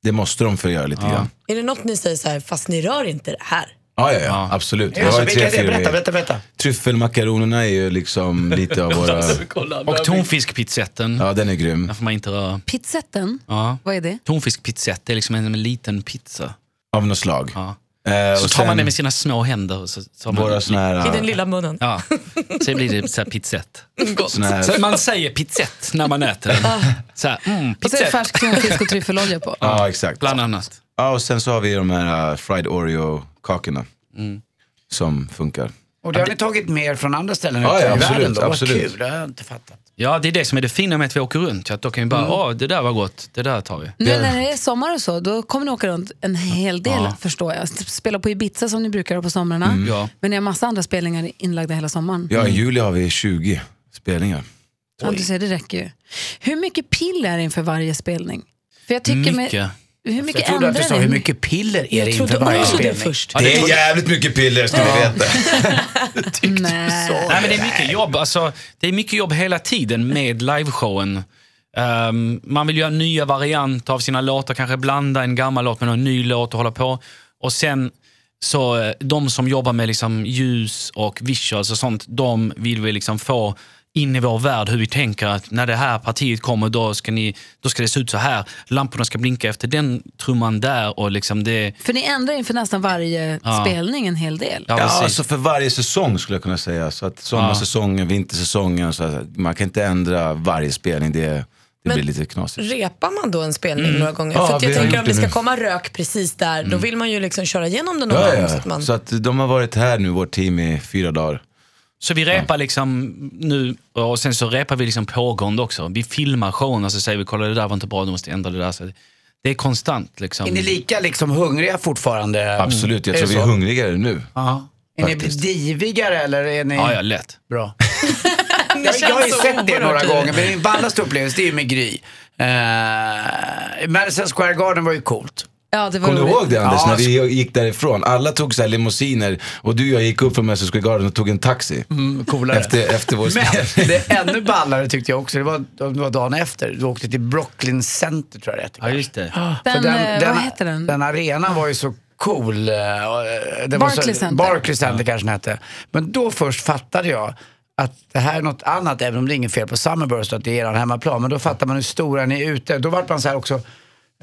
[SPEAKER 9] Det måste de få göra lite grann.
[SPEAKER 6] Är det något ni säger så här, fast ni rör inte det här?
[SPEAKER 9] Ja, ja, ja, absolut.
[SPEAKER 5] Är det
[SPEAKER 9] Vi
[SPEAKER 5] så?
[SPEAKER 9] har ju
[SPEAKER 5] Vilka är det?
[SPEAKER 9] fyra-
[SPEAKER 5] Berätta, berätta, berätta.
[SPEAKER 9] Tryffelmakaronerna är ju liksom lite av våra...
[SPEAKER 8] Och tonfiskpizzetten,
[SPEAKER 9] Ja, den är grym.
[SPEAKER 8] där får man inte röra.
[SPEAKER 4] Pizzetten,
[SPEAKER 8] Ja.
[SPEAKER 4] vad är det?
[SPEAKER 8] Tonfiskpizzett det är liksom en, en liten pizza.
[SPEAKER 9] Av något slag.
[SPEAKER 8] Ja.
[SPEAKER 9] Eh,
[SPEAKER 8] Så
[SPEAKER 9] och
[SPEAKER 8] tar man
[SPEAKER 9] sen
[SPEAKER 8] det med sina små händer. Och så tar man,
[SPEAKER 9] Våra såna
[SPEAKER 6] I den
[SPEAKER 9] här...
[SPEAKER 6] lilla munnen?
[SPEAKER 8] ja. Så blir det så här pizzett.
[SPEAKER 9] Såna här
[SPEAKER 8] Så man säger pizzett när man äter den. Så här,
[SPEAKER 4] Och
[SPEAKER 8] mm,
[SPEAKER 4] så är det
[SPEAKER 8] pizzett,
[SPEAKER 4] färsk tonfisk och tryffelolja på.
[SPEAKER 9] ja, exakt.
[SPEAKER 8] bland annat.
[SPEAKER 9] Ja, och sen så har vi de här uh, fried Oreo-kakorna.
[SPEAKER 8] Mm.
[SPEAKER 9] Som funkar.
[SPEAKER 5] Och det har ni tagit med er från andra ställen
[SPEAKER 9] Ja,
[SPEAKER 5] ute
[SPEAKER 9] ja,
[SPEAKER 5] i världen
[SPEAKER 9] absolut,
[SPEAKER 5] då? Vad
[SPEAKER 9] absolut.
[SPEAKER 5] kul, det har jag inte fattat.
[SPEAKER 8] Ja, det är det som är det fina med att vi åker runt. Att då kan vi bara, åh, det där var gott, det där tar vi.
[SPEAKER 4] Nu när det är sommar och så, då kommer ni åka runt en hel del förstår jag. Spela på Ibiza som ni brukar göra på somrarna.
[SPEAKER 8] Ja.
[SPEAKER 4] Men ni har massa andra spelningar inlagda hela sommaren.
[SPEAKER 9] Mm. Ja,
[SPEAKER 8] Mm.
[SPEAKER 9] i juli har vi 20 spelningar.
[SPEAKER 4] Ja, du ser, det räcker ju. Hur mycket pill är det inför varje spelning? För jag tycker
[SPEAKER 8] Mycket.
[SPEAKER 4] Med, hur
[SPEAKER 5] Jag
[SPEAKER 4] mycket
[SPEAKER 5] trodde att du sa
[SPEAKER 4] ändrar
[SPEAKER 5] hur
[SPEAKER 4] ni?
[SPEAKER 5] mycket piller är det inför
[SPEAKER 6] Trodde
[SPEAKER 5] varje
[SPEAKER 6] också det
[SPEAKER 5] spelning?
[SPEAKER 6] först.
[SPEAKER 8] Ja, det var-
[SPEAKER 9] jävligt mycket piller, ska ni veta.
[SPEAKER 4] Nej.
[SPEAKER 8] Nej, men det är mycket jobb. Alltså, det är mycket jobb hela tiden med liveshowen. Ehm, man vill göra nya varianter av sina låtar, kanske blanda en gammal låt med en ny låt och hålla på. Och sen så eh, de som jobbar med liksom ljus och visuals och sånt, de vill vi liksom få in i vår värld hur vi tänker att när det här partiet kommer då ska, ni, då ska det se ut så här. Lamporna ska blinka efter den trumman där och liksom det...
[SPEAKER 4] För ni ändrar inför nästan varje spelning en hel del.
[SPEAKER 8] Ja,
[SPEAKER 9] Ja,
[SPEAKER 8] precis.
[SPEAKER 9] alltså för varje säsong skulle jag kunna säga. Så att sommarsäsongen, vintersäsongen. Så att man kan inte ändra varje spelning. Det, det blir lite knasigt.
[SPEAKER 6] Repar man då en spelning några gånger?
[SPEAKER 9] Ja,
[SPEAKER 6] För att
[SPEAKER 9] vi
[SPEAKER 6] jag
[SPEAKER 9] har
[SPEAKER 6] tänker
[SPEAKER 9] gjort
[SPEAKER 6] om det
[SPEAKER 9] det
[SPEAKER 6] ska
[SPEAKER 9] nu.
[SPEAKER 6] komma rök precis där, då vill man ju liksom köra igenom den några
[SPEAKER 9] Ja,
[SPEAKER 6] gånger. Så att
[SPEAKER 9] ja.
[SPEAKER 6] man...
[SPEAKER 9] Så att de har varit här nu, vårt team, i fyra dagar.
[SPEAKER 8] Så vi repar liksom nu och sen så repar vi liksom pågående också. Vi filmar showen och så säger vi kolla det där var inte bra, du måste ändra det där. Så det är konstant liksom.
[SPEAKER 5] Är ni lika liksom hungriga fortfarande?
[SPEAKER 9] Absolut, jag
[SPEAKER 5] Är
[SPEAKER 9] tror
[SPEAKER 5] det
[SPEAKER 9] vi är
[SPEAKER 5] så?
[SPEAKER 9] hungrigare nu.
[SPEAKER 5] Ja. Är ni
[SPEAKER 9] Faktiskt.
[SPEAKER 5] divigare eller är ni...
[SPEAKER 8] Ja, ja, lätt.
[SPEAKER 5] Bra. jag, jag har ju sett det några gånger, men min ballaste upplevelse det är ju med Gry. Eh, Madison Square Garden var ju coolt.
[SPEAKER 4] Ja, det var
[SPEAKER 9] Kommer du
[SPEAKER 4] roligt.
[SPEAKER 9] ihåg det Anders,
[SPEAKER 5] Ja,
[SPEAKER 9] när vi gick därifrån? Alla tog så här limousiner och du och jag gick upp från Madison Square Garden och tog en taxi.
[SPEAKER 5] Coolare.
[SPEAKER 9] Efter, efter vår
[SPEAKER 5] Mm. Men
[SPEAKER 9] spelning.
[SPEAKER 5] det ännu ballare tyckte jag också, det var, det var dagen efter. Du åkte till Brooklyn Center tror jag det hette.
[SPEAKER 8] Ja, just det.
[SPEAKER 5] För
[SPEAKER 4] Den, eh, vad heter den?
[SPEAKER 5] Den arenan var ju så cool. eh, och, eh, det var
[SPEAKER 4] Barclays
[SPEAKER 5] så,
[SPEAKER 4] Center.
[SPEAKER 5] Barclays Center kanske den hette. Men då först fattade jag att det här är något annat, även om det är inget fel på Summerburst och att det är eran hemmaplan. Men då fattar man hur stora ni är ute. Då vart man så här också,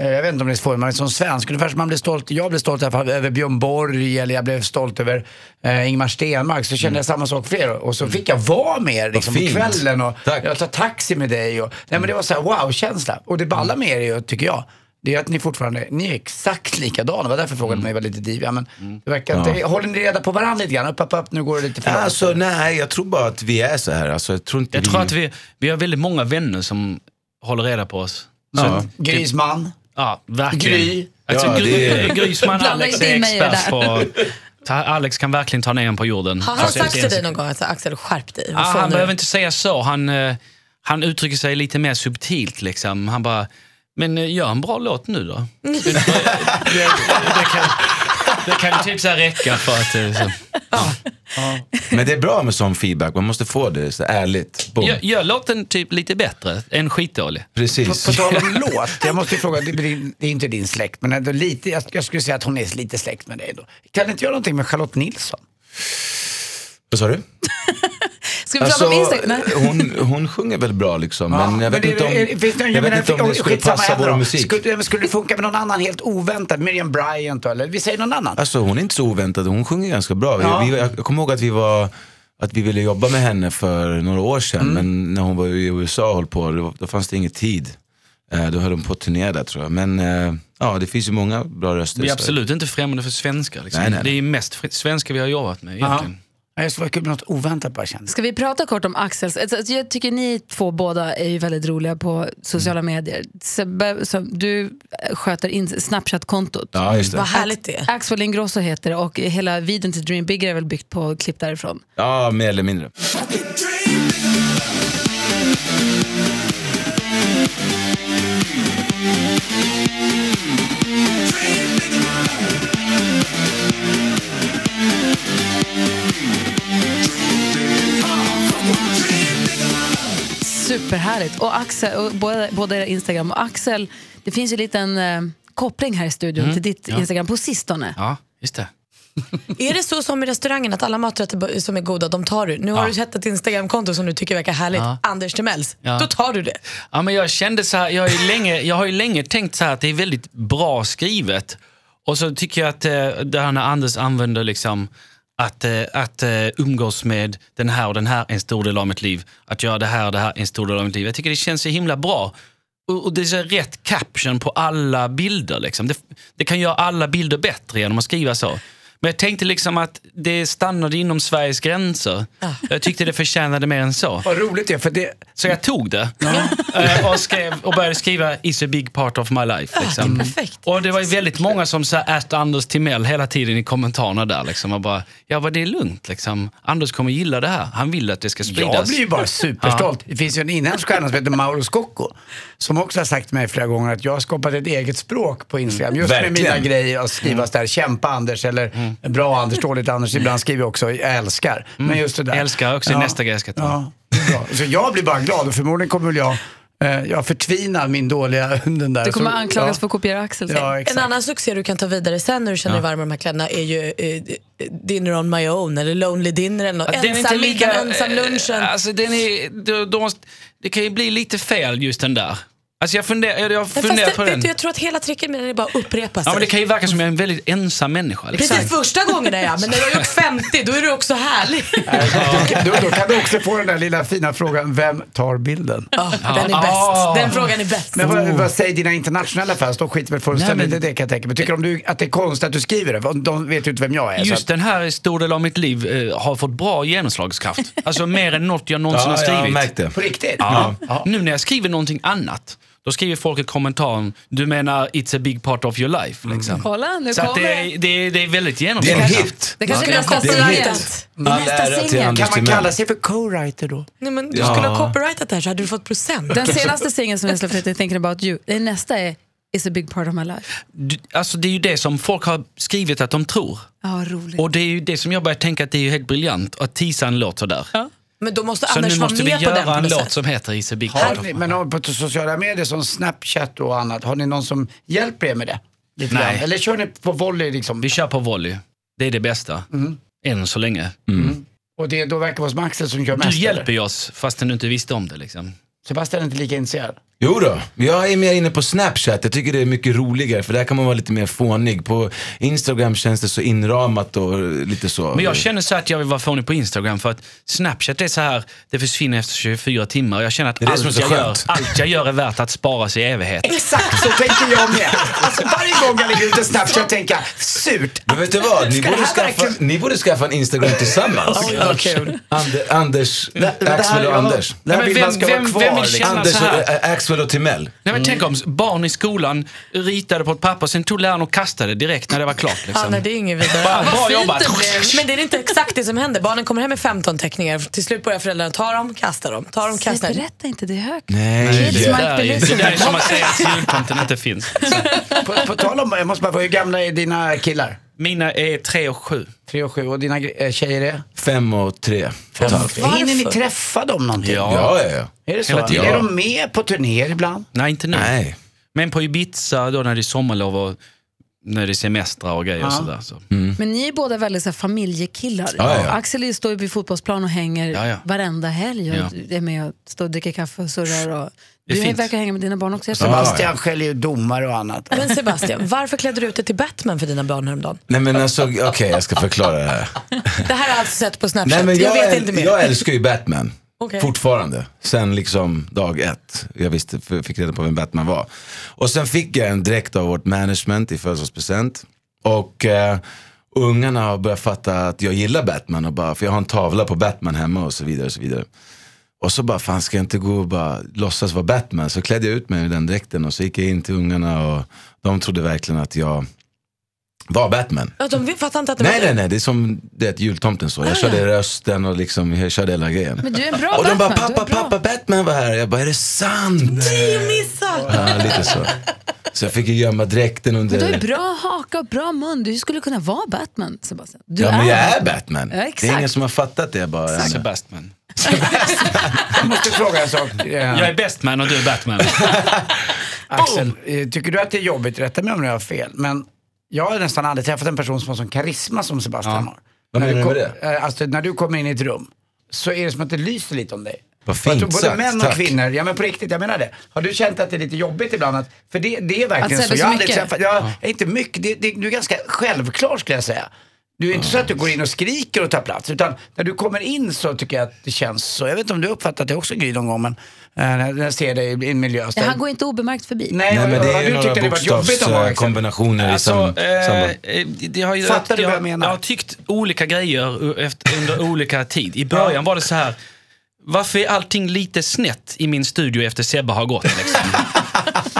[SPEAKER 5] Eh, Jag vet inte om det är svårt, man är som svensk. Ungefär som man blir stolt, jag blev stolt i alla fall över Björn Borg eller jag blev stolt över eh, Ingmar Stenmark. Så kände jag samma sak för er. Och så fick jag vara med er liksom, på
[SPEAKER 9] Mm. fint.
[SPEAKER 5] kvällen och
[SPEAKER 9] Tack.
[SPEAKER 5] jag tar taxi med dig. Och, nej, men
[SPEAKER 9] Mm.
[SPEAKER 5] det var så här wow-känsla. Och det balla med er är ju, tycker jag, det är att ni fortfarande, ni är exakt likadana. Det var därför frågan
[SPEAKER 9] Mm.
[SPEAKER 5] mig var lite diviga. Men det verkar inte, Håller ni reda på varandra lite grann? Upp, upp, upp, nu går det lite för långt.
[SPEAKER 9] Alltså nej, jag tror bara att vi är så här. Alltså, jag tror inte
[SPEAKER 8] Jag tror att vi, vi har väldigt många vänner som håller reda på oss. Så,
[SPEAKER 9] Ja.
[SPEAKER 8] ja.
[SPEAKER 5] Grisman.
[SPEAKER 8] verkligen.
[SPEAKER 5] Gry.
[SPEAKER 8] Alltså,
[SPEAKER 9] Ja,
[SPEAKER 8] Gry,
[SPEAKER 9] det är-
[SPEAKER 8] Grysman,
[SPEAKER 4] Blanda
[SPEAKER 8] Alex
[SPEAKER 4] inte
[SPEAKER 8] är
[SPEAKER 4] in mig i det
[SPEAKER 8] expert på... Ta, Alex kan verkligen ta ner en på jorden.
[SPEAKER 6] Har han
[SPEAKER 8] Fast
[SPEAKER 6] sagt
[SPEAKER 8] Alltså, det är-
[SPEAKER 6] till dig någon gång att Axel skärp dig? Vad
[SPEAKER 8] Ah,
[SPEAKER 6] fan
[SPEAKER 8] han
[SPEAKER 6] nu?
[SPEAKER 8] behöver inte säga så. Han, eh, han uttrycker sig lite mer subtilt. Liksom. Han bara, men eh, gör en bra låt nu då. det, det, kan, det kan ju typ så här räcka för att... eh, Så.
[SPEAKER 9] Men det är bra med sån feedback, man måste få det så ärligt. Boom.
[SPEAKER 8] Gör, gör låten typ lite bättre än skitdålig.
[SPEAKER 9] Precis.
[SPEAKER 5] På tal om låt, jag måste ju fråga, det blir- det är inte din släkt, men ändå lite, jag, jag skulle säga att hon är lite släkt med dig då. Kan du inte göra någonting med Charlotte Nilsson?
[SPEAKER 9] Vad sa du? Alltså,
[SPEAKER 4] Ska vi prata om
[SPEAKER 5] Alltså,
[SPEAKER 4] Instagram? Nej.
[SPEAKER 9] hon, hon sjunger väl bra liksom, men jag vet
[SPEAKER 5] det-
[SPEAKER 9] inte om,
[SPEAKER 5] är- finns det, någon-
[SPEAKER 9] jag vet inte om det skulle
[SPEAKER 5] skitsamma
[SPEAKER 9] passa
[SPEAKER 5] henne
[SPEAKER 9] vår
[SPEAKER 5] då.
[SPEAKER 9] musik.
[SPEAKER 5] Skulle, men skulle det funka med någon annan helt oväntad? Miriam Bryant då, eller vi säger någon annan.
[SPEAKER 9] Alltså hon är inte så oväntad, hon sjunger ganska bra.
[SPEAKER 5] Ja.
[SPEAKER 9] Vi, jag kommer ihåg att vi var att vi ville jobba med henne för några år sedan, men när hon var i USA och höll på, då, då fanns det ingen tid. Eh, då höll hon på att turnera där tror jag. Men eh, ja, det finns ju många bra röster. i
[SPEAKER 8] Vi är
[SPEAKER 9] Sverige.
[SPEAKER 8] absolut inte främmande för svenskar. Liksom.
[SPEAKER 9] Nej, nej, nej.
[SPEAKER 8] Det är mest fr- svenskar vi har jobbat med
[SPEAKER 5] Ja.
[SPEAKER 8] egentligen.
[SPEAKER 5] Ja, Det skulle vara kul med något oväntat bara känns
[SPEAKER 4] Ska vi prata kort om Axels... Alltså, alltså, jag tycker ni två båda är ju väldigt roliga på sociala medier. Sebbe, som du sköter in Snapchat-kontot.
[SPEAKER 9] Ja, just det.
[SPEAKER 6] Vad härligt det är.
[SPEAKER 4] Axel Ingrosso heter det och hela videon till Dream Bigger är väl byggt på klipp därifrån.
[SPEAKER 9] Ja, mer eller mindre.
[SPEAKER 4] Superhärligt. Och Axel, och båda, båda era Instagram. Och Axel, det finns ju en liten eh, koppling här i studion till ditt Instagram på sistone.
[SPEAKER 8] Ja, just det.
[SPEAKER 6] Är det så som i restaurangen att alla maträtter b- som är goda, de tar du? Nu har du sett ett Instagramkonto som du tycker verkar härligt, Anders Timells.
[SPEAKER 8] Ja.
[SPEAKER 6] Då tar du det.
[SPEAKER 8] Ja, men jag kände så här, jag, har ju länge, jag har ju länge tänkt så här att det är väldigt bra skrivet. Och så tycker jag att eh, det här när Anders använder liksom att, eh, att eh, umgås med den här och den här är en stor del av mitt liv. Att göra det här och det här är en stor del av mitt liv. Jag tycker det känns så himla bra. Och, och det är så här rätt caption på alla bilder. Liksom. Det, det kan göra alla bilder bättre genom att skriva så. Men jag tänkte liksom att det stannade inom Sveriges gränser. Jag tyckte det förtjänade mer än så.
[SPEAKER 5] Vad roligt det är, för det,
[SPEAKER 8] Så jag tog det Eh, och, skrev, och började skriva It's a big part of my life. Liksom.
[SPEAKER 6] perfekt.
[SPEAKER 8] Och det var ju väldigt många som sa att Anders Timell hela tiden i kommentarerna där. Liksom. Och bara, ja vad det är lugnt. Liksom. Anders kommer gilla det här. Han vill att det ska spridas.
[SPEAKER 5] Jag blir ju bara superstolt. Det finns ju en inhemsk stjärna som heter Mauro Scocco. Som också har sagt till mig flera gånger att jag har skapat ett eget språk på Instagram. Just med
[SPEAKER 9] Verkligen.
[SPEAKER 5] mina grejer att
[SPEAKER 8] Mm.
[SPEAKER 5] skrivas där. Kämpa Anders eller bra Anders, dåligt Anders. Ibland skriver jag också jag älskar. Men just det där.
[SPEAKER 8] Mm. Älskar också är nästa grej jag ska ta.
[SPEAKER 5] Ja, det är bra. Så jag blir bara glad och förmodligen kommer väl jag, eh, jag förtvinar min dåliga den där.
[SPEAKER 4] Du kommer
[SPEAKER 5] Så-
[SPEAKER 4] anklagas
[SPEAKER 5] Alltså, ja.
[SPEAKER 4] för att kopiera Axel.
[SPEAKER 5] Ja,
[SPEAKER 6] En
[SPEAKER 5] exakt.
[SPEAKER 6] annan succé du kan ta vidare sen när du känner dig varm i de här kläderna är ju eh, Dinner on my own eller Lonely Dinner eller något.
[SPEAKER 8] Att den är inte
[SPEAKER 6] Ensam middagen,
[SPEAKER 8] lika-
[SPEAKER 6] ensam lunchen.
[SPEAKER 8] eh, Alltså, den är, då, då måste, det kan ju bli lite fel just den där. Alltså, jag funderar, jag- jag
[SPEAKER 6] Men fast
[SPEAKER 8] funderar
[SPEAKER 6] det,
[SPEAKER 8] på
[SPEAKER 6] vet
[SPEAKER 8] den.
[SPEAKER 6] du, jag tror att hela tricket med den är bara att upprepa sig.
[SPEAKER 8] Ja, men det kan ju verka som jag är en väldigt ensam människa. Liksom.
[SPEAKER 6] Precis första gången är jag, men när du har gjort 50 då är du också härlig.
[SPEAKER 5] Då, då kan du också få den där lilla fina frågan, vem tar bilden?
[SPEAKER 6] Ja, den är
[SPEAKER 8] Ah.
[SPEAKER 6] bäst. Den frågan är bäst.
[SPEAKER 5] Men vad, vad säger dina internationella fans? De skiter väl fullständigt
[SPEAKER 8] Nej, men-
[SPEAKER 5] i det kan jag tänka mig. Tycker de du, att det är konstigt att du skriver det? För De vet ju inte vem jag är. Eh, så
[SPEAKER 8] Just den här stor del av mitt liv eh, har fått bra genomslagskraft. Alltså mer än något jag någonsin har
[SPEAKER 9] Ja, jag har
[SPEAKER 8] skrivit.
[SPEAKER 9] märkt det.
[SPEAKER 5] att, på riktigt?
[SPEAKER 8] Ja.
[SPEAKER 5] Ja.
[SPEAKER 8] Nu när jag skriver någonting annat, då skriver folk i kommentaren, du menar it's a big part of your life. Liksom.
[SPEAKER 4] Kolla, nu
[SPEAKER 8] Så att
[SPEAKER 4] kommer
[SPEAKER 8] det,
[SPEAKER 4] det.
[SPEAKER 8] är- det, är- det är väldigt
[SPEAKER 9] Det är en
[SPEAKER 8] genomslagskraft.
[SPEAKER 9] hit!
[SPEAKER 4] Det kanske är
[SPEAKER 6] Det är
[SPEAKER 4] nästa
[SPEAKER 6] en hit.
[SPEAKER 4] singel.
[SPEAKER 9] All
[SPEAKER 4] Nästa
[SPEAKER 9] ära till
[SPEAKER 4] singel.
[SPEAKER 9] Anders
[SPEAKER 5] Kan man
[SPEAKER 9] Timell.
[SPEAKER 5] kalla sig för co-writer då?
[SPEAKER 6] Nej, men du skulle ha copyrightat det här så hade du fått procent.
[SPEAKER 4] Den senaste singeln som jag släppte heter Thinking about you. Den nästa är It's a big part of my life.
[SPEAKER 8] Du- Alltså, det är ju det som folk har skrivit att de tror.
[SPEAKER 4] Ja, vad roligt.
[SPEAKER 8] Och det är ju det som jag börjar tänka att det är ju helt briljant att teasa en låt sådär.
[SPEAKER 6] Men då måste
[SPEAKER 8] Så
[SPEAKER 6] Anders
[SPEAKER 8] nu
[SPEAKER 6] vara
[SPEAKER 8] måste vi
[SPEAKER 6] med på den på
[SPEAKER 8] göra en
[SPEAKER 6] något
[SPEAKER 8] låt
[SPEAKER 6] sätt.
[SPEAKER 8] som heter It's a big
[SPEAKER 5] Har
[SPEAKER 8] part of
[SPEAKER 5] ni,
[SPEAKER 8] my
[SPEAKER 5] men har, på sociala medier som Snapchat och annat, har ni någon som hjälper er med det? Lite
[SPEAKER 8] Nej.
[SPEAKER 5] grann? Eller kör ni på volley liksom?
[SPEAKER 8] Vi kör på volley. Det är det bästa. Än så länge.
[SPEAKER 5] Och det då verkar det vara som Axel som kör
[SPEAKER 8] Du
[SPEAKER 5] mest? eller?
[SPEAKER 8] hjälper ju oss fastän du inte visste om det. Liksom.
[SPEAKER 5] Sebastian är inte lika intresserad?
[SPEAKER 9] Jo då, jag är mer inne på Snapchat. Jag tycker det är mycket roligare för där kan man vara lite mer fånig. På Instagram känns det så inramat och lite så.
[SPEAKER 8] Men jag känner så här att jag vill vara fånig på Instagram för att Snapchat är så här, det försvinner efter 24 timmar. Jag känner att
[SPEAKER 9] är det som är
[SPEAKER 8] allt,
[SPEAKER 9] så
[SPEAKER 8] jag gör,
[SPEAKER 9] skönt. Mm.
[SPEAKER 8] allt jag gör är värt att sparas i evighet.
[SPEAKER 5] Exakt så tänker jag med. Alltså varje gång jag lägger ut en Snapchat tänker jag, surt.
[SPEAKER 9] Men vet du vad, ni
[SPEAKER 5] Ska det
[SPEAKER 9] borde,
[SPEAKER 5] här
[SPEAKER 9] skaffa,
[SPEAKER 5] verkligen-
[SPEAKER 9] ni borde skaffa en Instagram tillsammans.
[SPEAKER 5] Oj, vad kul.
[SPEAKER 9] Ande, Anders, Axel och Anders.
[SPEAKER 5] Det här
[SPEAKER 8] Nej, men
[SPEAKER 5] vill
[SPEAKER 8] vem-
[SPEAKER 5] man ska
[SPEAKER 8] vem-
[SPEAKER 5] vara kvar.
[SPEAKER 8] vem vill
[SPEAKER 5] liksom.
[SPEAKER 8] känna-
[SPEAKER 9] Anders
[SPEAKER 8] så
[SPEAKER 9] och,
[SPEAKER 8] här.
[SPEAKER 9] äh, Axel och Timell.
[SPEAKER 8] Nej, men tänk om barn i skolan ritade på ett papper, sen tog läraren och kastade direkt när det var klart. Liksom.
[SPEAKER 6] Ja, nej, det är inget vidare.
[SPEAKER 8] Bra- bra
[SPEAKER 6] Vad fint
[SPEAKER 8] jobbat.
[SPEAKER 6] det blev. Men det är inte exakt det som händer. Barnen kommer hem med 15 teckningar. Till slut börjar föräldrarna ta dem, kasta dem, ta dem,
[SPEAKER 4] Nej,
[SPEAKER 6] kasta dem.
[SPEAKER 4] berätta inte det högt.
[SPEAKER 9] Nej.
[SPEAKER 4] Kids
[SPEAKER 8] Det
[SPEAKER 4] might
[SPEAKER 8] där
[SPEAKER 4] be
[SPEAKER 8] är- det där är
[SPEAKER 4] listening.
[SPEAKER 8] som att säga att jultomten inte finns.
[SPEAKER 5] På, på tal om, jag måste bara fråga, hur gamla är dina killar?
[SPEAKER 8] Mina är tre och sju.
[SPEAKER 5] Tre och sju. Och dina eh, tjejer är?
[SPEAKER 9] Fem och tre. Fem.
[SPEAKER 5] Hinner ni träffa dem någonting?
[SPEAKER 9] Ja, ja, ja.
[SPEAKER 5] Är det så?
[SPEAKER 8] Hela tiden.
[SPEAKER 5] Är
[SPEAKER 8] Ja.
[SPEAKER 5] de med på turnéer ibland?
[SPEAKER 8] Nej, inte nu.
[SPEAKER 9] Nej.
[SPEAKER 8] Men på Ibiza då när det är sommarlov och när det är semestrar och grejer och sådär. Så.
[SPEAKER 9] Mm.
[SPEAKER 4] Men ni är båda väldigt så här, familjekillar.
[SPEAKER 9] Ja, ja.
[SPEAKER 4] Axel är- står ju vid fotbollsplan och hänger
[SPEAKER 8] Ja, ja.
[SPEAKER 4] varenda helg och
[SPEAKER 8] Ja.
[SPEAKER 4] är med och står och dricker kaffe och surrar. Och...
[SPEAKER 8] Det är
[SPEAKER 4] Du
[SPEAKER 8] fint.
[SPEAKER 4] verkar hänga med dina barn också. Jag tror.
[SPEAKER 5] Sebastian skäller ju domar och annat.
[SPEAKER 6] Men Sebastian, varför klädde du ut dig till Batman för dina barn häromdagen?
[SPEAKER 9] Nej men alltså, okej jag ska förklara det här.
[SPEAKER 6] Det här har jag alltså sett på Snapchat.
[SPEAKER 9] Nej, men
[SPEAKER 6] jag,
[SPEAKER 9] jag,
[SPEAKER 6] vet
[SPEAKER 9] äl-
[SPEAKER 6] inte mer.
[SPEAKER 9] jag älskar ju Batman.
[SPEAKER 6] Okej.
[SPEAKER 9] Fortfarande. Sen liksom dag ett. Jag visste, f- fick reda på vem Batman var. Och sen fick jag en dräkt av vårt management i födelsedagspresent. Och eh, ungarna har börjat fatta att jag gillar Batman. Och bara, för jag har en tavla på Batman hemma och så vidare. Och så vidare. Och så bara, fan ska jag inte gå och bara låtsas vara Batman? Så klädde jag ut mig i den dräkten och så gick jag in till ungarna och de trodde verkligen att jag var Batman.
[SPEAKER 6] Ja, De fattar inte att det
[SPEAKER 9] Nej,
[SPEAKER 6] var
[SPEAKER 9] nej, nej. Det är som det är ett jultomten så. Jag körde rösten och liksom, jag körde hela grejen.
[SPEAKER 4] Ah, Men du är en bra
[SPEAKER 9] och de bara,
[SPEAKER 4] Batman, du är
[SPEAKER 9] pappa,
[SPEAKER 4] bra."
[SPEAKER 9] pappa, Batman var här. Jag bara, är det sant?
[SPEAKER 6] Missa!
[SPEAKER 9] Ja, lite så. Så jag fick ju gömma dräkten
[SPEAKER 4] Men
[SPEAKER 9] under...
[SPEAKER 4] du har ju bra haka och bra mun. Du skulle kunna vara Batman, Sebastian. Du
[SPEAKER 9] ja, men jag
[SPEAKER 4] det.
[SPEAKER 9] är Batman.
[SPEAKER 4] Ja,
[SPEAKER 9] det
[SPEAKER 4] exakt.
[SPEAKER 9] är ingen som har fattat det bara.
[SPEAKER 8] Sebastian.
[SPEAKER 5] Jag måste fråga en sak. eh,
[SPEAKER 8] Jag är Bestman och du är Batman.
[SPEAKER 5] Axel, eh, tycker du att det är jobbigt, rätta mig om jag har fel, men jag har nästan aldrig träffat en person som har sån karisma som Sebastian har.
[SPEAKER 9] Vad
[SPEAKER 5] När
[SPEAKER 9] menar
[SPEAKER 5] kom-
[SPEAKER 9] du med
[SPEAKER 5] eh, Alltså, när du kommer in i ett rum så är det som att det lyser lite om dig.
[SPEAKER 9] Vad
[SPEAKER 5] Och jag tror
[SPEAKER 9] fint
[SPEAKER 5] Både
[SPEAKER 9] sagt,
[SPEAKER 5] män och
[SPEAKER 9] tack.
[SPEAKER 5] kvinnor, ja men på riktigt, jag menar det. Har du känt att det är lite jobbigt ibland? Att, för det, det är verkligen
[SPEAKER 4] Att säga
[SPEAKER 5] så.
[SPEAKER 4] det
[SPEAKER 5] Jag
[SPEAKER 4] så
[SPEAKER 5] har aldrig
[SPEAKER 4] mycket?
[SPEAKER 5] träffat, jag, är inte mycket, det, det, du är ganska självklar skulle jag säga. Du är inte så att du går in och skriker och tar plats, utan när du kommer in så tycker jag att det känns så. Jag vet inte om du har uppfattat det också Gry någon gång, men eh, när när jag ser dig i en miljö.
[SPEAKER 4] Ja, Han går inte obemärkt förbi.
[SPEAKER 5] Nej,
[SPEAKER 9] Nej, men det
[SPEAKER 5] har
[SPEAKER 9] är ju
[SPEAKER 5] du
[SPEAKER 9] några
[SPEAKER 5] tyckt att det varit jobbigt om Axel?
[SPEAKER 9] bokstavskombinationer i sam-
[SPEAKER 8] Alltså, eh,
[SPEAKER 9] samband.
[SPEAKER 8] eh, det har ju,
[SPEAKER 5] Fattar du vad jag
[SPEAKER 8] har-
[SPEAKER 5] menar?
[SPEAKER 8] Jag har tyckt olika grejer u- efter, under olika tid. I början var det så här, varför är allting lite snett i min studio efter Sebbe har gått? Liksom?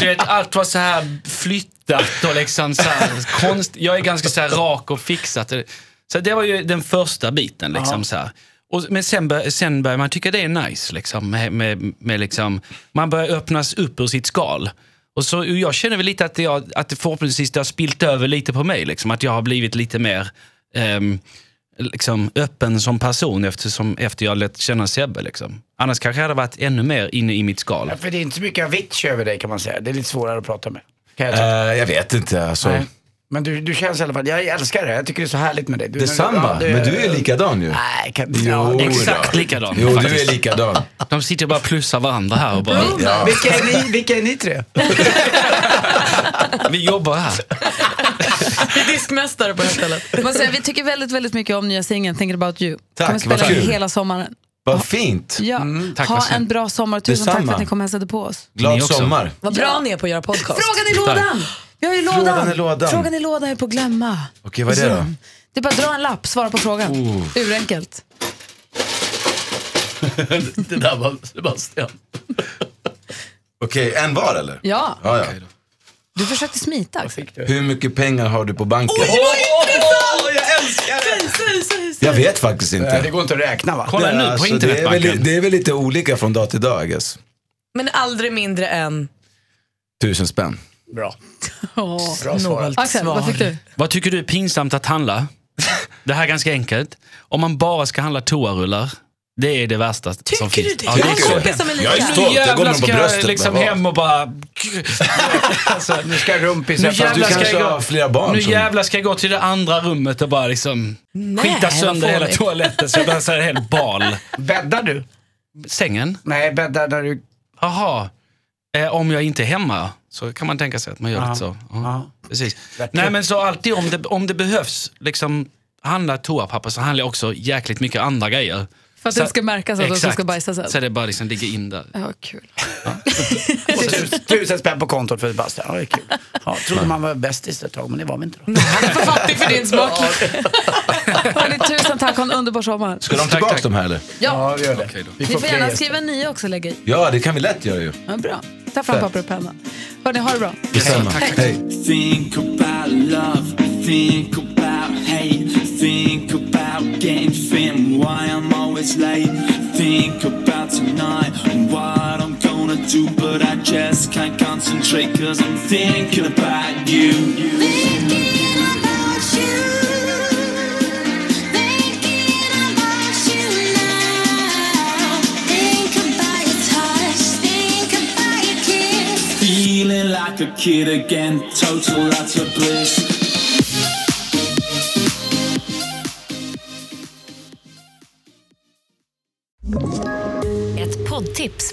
[SPEAKER 8] du vet, allt var så här flyttat och liksom så här, konst, jag är ganska så här rak och fixat. Så det var ju den första biten. Liksom, så här. Och, men sen, bör, sen börjar man tycka det är nice. Liksom, med, med, med, liksom, man börjar öppnas upp ur sitt skal. Och så, och jag känner väl lite att, jag, att det förhoppningsvis det har spilt över lite på mig. Liksom, att jag har blivit lite mer ehm, liksom, öppen som person eftersom, efter jag lärt känna Sebbe. Liksom. Annars kanske jag hade varit ännu mer inne i mitt skal.
[SPEAKER 5] Ja, För det är inte så mycket avicii över dig kan man säga. Det är lite svårare att prata med. Kan jag tycka.
[SPEAKER 9] Eh, jag vet inte. Alltså.
[SPEAKER 5] Nej. Men du, du känns i alla fall, jag älskar det. Jag tycker det är så härligt med dig. Du,
[SPEAKER 9] Detsamma,
[SPEAKER 5] ja,
[SPEAKER 9] men du är likadan ju.
[SPEAKER 5] Nej, kan,
[SPEAKER 9] Jo,
[SPEAKER 5] ja,
[SPEAKER 9] då.
[SPEAKER 8] Exakt likadan,
[SPEAKER 9] Jo, du
[SPEAKER 8] faktiskt.
[SPEAKER 9] är likadan.
[SPEAKER 8] De sitter och bara plussar varandra här och bara,
[SPEAKER 9] Ja.
[SPEAKER 5] vilka, är ni, vilka är ni tre?
[SPEAKER 8] vi jobbar här.
[SPEAKER 6] Vi är diskmästare på det här stället.
[SPEAKER 4] Jag måste säga, vi tycker väldigt, väldigt mycket om nya singeln Thinking about you.
[SPEAKER 9] Tack,
[SPEAKER 4] kommer spela
[SPEAKER 9] vad
[SPEAKER 4] den
[SPEAKER 9] kul. Mm,
[SPEAKER 4] hela sommaren.
[SPEAKER 9] Vad fint.
[SPEAKER 4] Ja.
[SPEAKER 8] tack, vad
[SPEAKER 4] ha en
[SPEAKER 8] snällt.
[SPEAKER 4] bra sommar. Tusen tack för
[SPEAKER 9] Detsamma.
[SPEAKER 4] att ni kom och hälsade på oss.
[SPEAKER 9] Glad
[SPEAKER 8] Ni också.
[SPEAKER 9] sommar.
[SPEAKER 6] Vad bra ni är på att göra podcast.
[SPEAKER 4] Frågan i lådan! Vi har ju lådan.
[SPEAKER 9] Frågan i lådan.
[SPEAKER 4] Frågan i lådan är på att glömma.
[SPEAKER 9] Okej, vad är det då?
[SPEAKER 4] Mm. Det är bara att dra en lapp, svara på frågan. Urenkelt.
[SPEAKER 8] Det där var Sebastian.
[SPEAKER 9] Okej, en var eller?
[SPEAKER 4] Ja,
[SPEAKER 9] Ja, ja.
[SPEAKER 4] du försökte smita. Axel.
[SPEAKER 9] Hur mycket pengar har du på banken? Jag vet faktiskt
[SPEAKER 5] Nej, det
[SPEAKER 9] inte.
[SPEAKER 5] går inte att räkna va?
[SPEAKER 8] Kolla nu på
[SPEAKER 9] Alltså, det, är väl,
[SPEAKER 8] internetbanken.
[SPEAKER 9] det är väl lite olika från dag till dag, I guess.
[SPEAKER 6] Men aldrig mindre än...
[SPEAKER 9] Tusen spänn.
[SPEAKER 5] Bra.
[SPEAKER 4] Åh.
[SPEAKER 5] Bra svarat.
[SPEAKER 4] Axel, vad fick du?
[SPEAKER 8] Vad tycker du är pinsamt att handla? Det här är ganska enkelt. Om man bara ska handla toarullar, det är det värsta som
[SPEAKER 6] Tycker
[SPEAKER 8] finns.
[SPEAKER 6] du det?
[SPEAKER 8] Ja,
[SPEAKER 6] Jag har
[SPEAKER 8] tycker jag.
[SPEAKER 6] kompisar med lika.
[SPEAKER 9] Jag är stolt. Jag går
[SPEAKER 8] jävlar
[SPEAKER 9] med på
[SPEAKER 8] ska jag
[SPEAKER 9] bröstet,
[SPEAKER 8] liksom
[SPEAKER 9] men vad?
[SPEAKER 8] hem och bara... alltså,
[SPEAKER 5] Nu ska rumpis
[SPEAKER 8] Nu
[SPEAKER 5] här, fast
[SPEAKER 9] Du
[SPEAKER 8] jävlar ska
[SPEAKER 9] kanske
[SPEAKER 8] jag gå-
[SPEAKER 9] har flera barn
[SPEAKER 8] nu
[SPEAKER 9] som...
[SPEAKER 8] jävlar ska jag gå till det andra rummet och bara liksom skita
[SPEAKER 6] vad
[SPEAKER 8] sönder hela
[SPEAKER 6] fånigt.
[SPEAKER 8] toaletten så jag behöver en hel bal.
[SPEAKER 5] Bäddar du?
[SPEAKER 8] Sängen?
[SPEAKER 5] Nej, bäddar där du...
[SPEAKER 8] Jaha. Eh, om jag inte är hemma så kan man tänka sig att man gör lite så. Ja, Precis. Nej, men så alltid om det, om det behövs, liksom, handla toapapper så handlar jag också jäkligt mycket andra grejer.
[SPEAKER 4] För att
[SPEAKER 8] Så-
[SPEAKER 4] det ska märkas att de som
[SPEAKER 8] Exakt.
[SPEAKER 4] ska bajsa sen.
[SPEAKER 8] Så det bara liksom ligger in där.
[SPEAKER 4] Ja, kul.
[SPEAKER 5] Tus- Tusen spänn på kontot för ett basta. Ja, det är kul. Ja, trodde man var bästis ett tag, men det var vi inte då.
[SPEAKER 4] För fattig för din smak. Hörni, tusen tack. Ha en underbar sommar.
[SPEAKER 9] Ska de
[SPEAKER 8] Tack,
[SPEAKER 9] tillbaka
[SPEAKER 8] tack.
[SPEAKER 9] de här eller?
[SPEAKER 4] Ja,
[SPEAKER 5] vi gör det.
[SPEAKER 8] Okej då.
[SPEAKER 5] Vi
[SPEAKER 4] ni får
[SPEAKER 5] fler
[SPEAKER 4] gärna
[SPEAKER 5] gäster.
[SPEAKER 4] skriva en ny också och lägga i.
[SPEAKER 9] Ja, det kan vi lätt göra ju.
[SPEAKER 4] Ja, bra. Ta fram papper och penna. Hörni, ha det bra.
[SPEAKER 9] Detsamma.
[SPEAKER 8] Tack,
[SPEAKER 9] Hej.
[SPEAKER 10] Think about love, think about hate, think about getting fit and why I'm always late. Think about tonight and what I'm gonna do, but I just can't concentrate cause I'm thinking about you. Feeling like a kid again, total lots of bliss.
[SPEAKER 6] Ett poddtips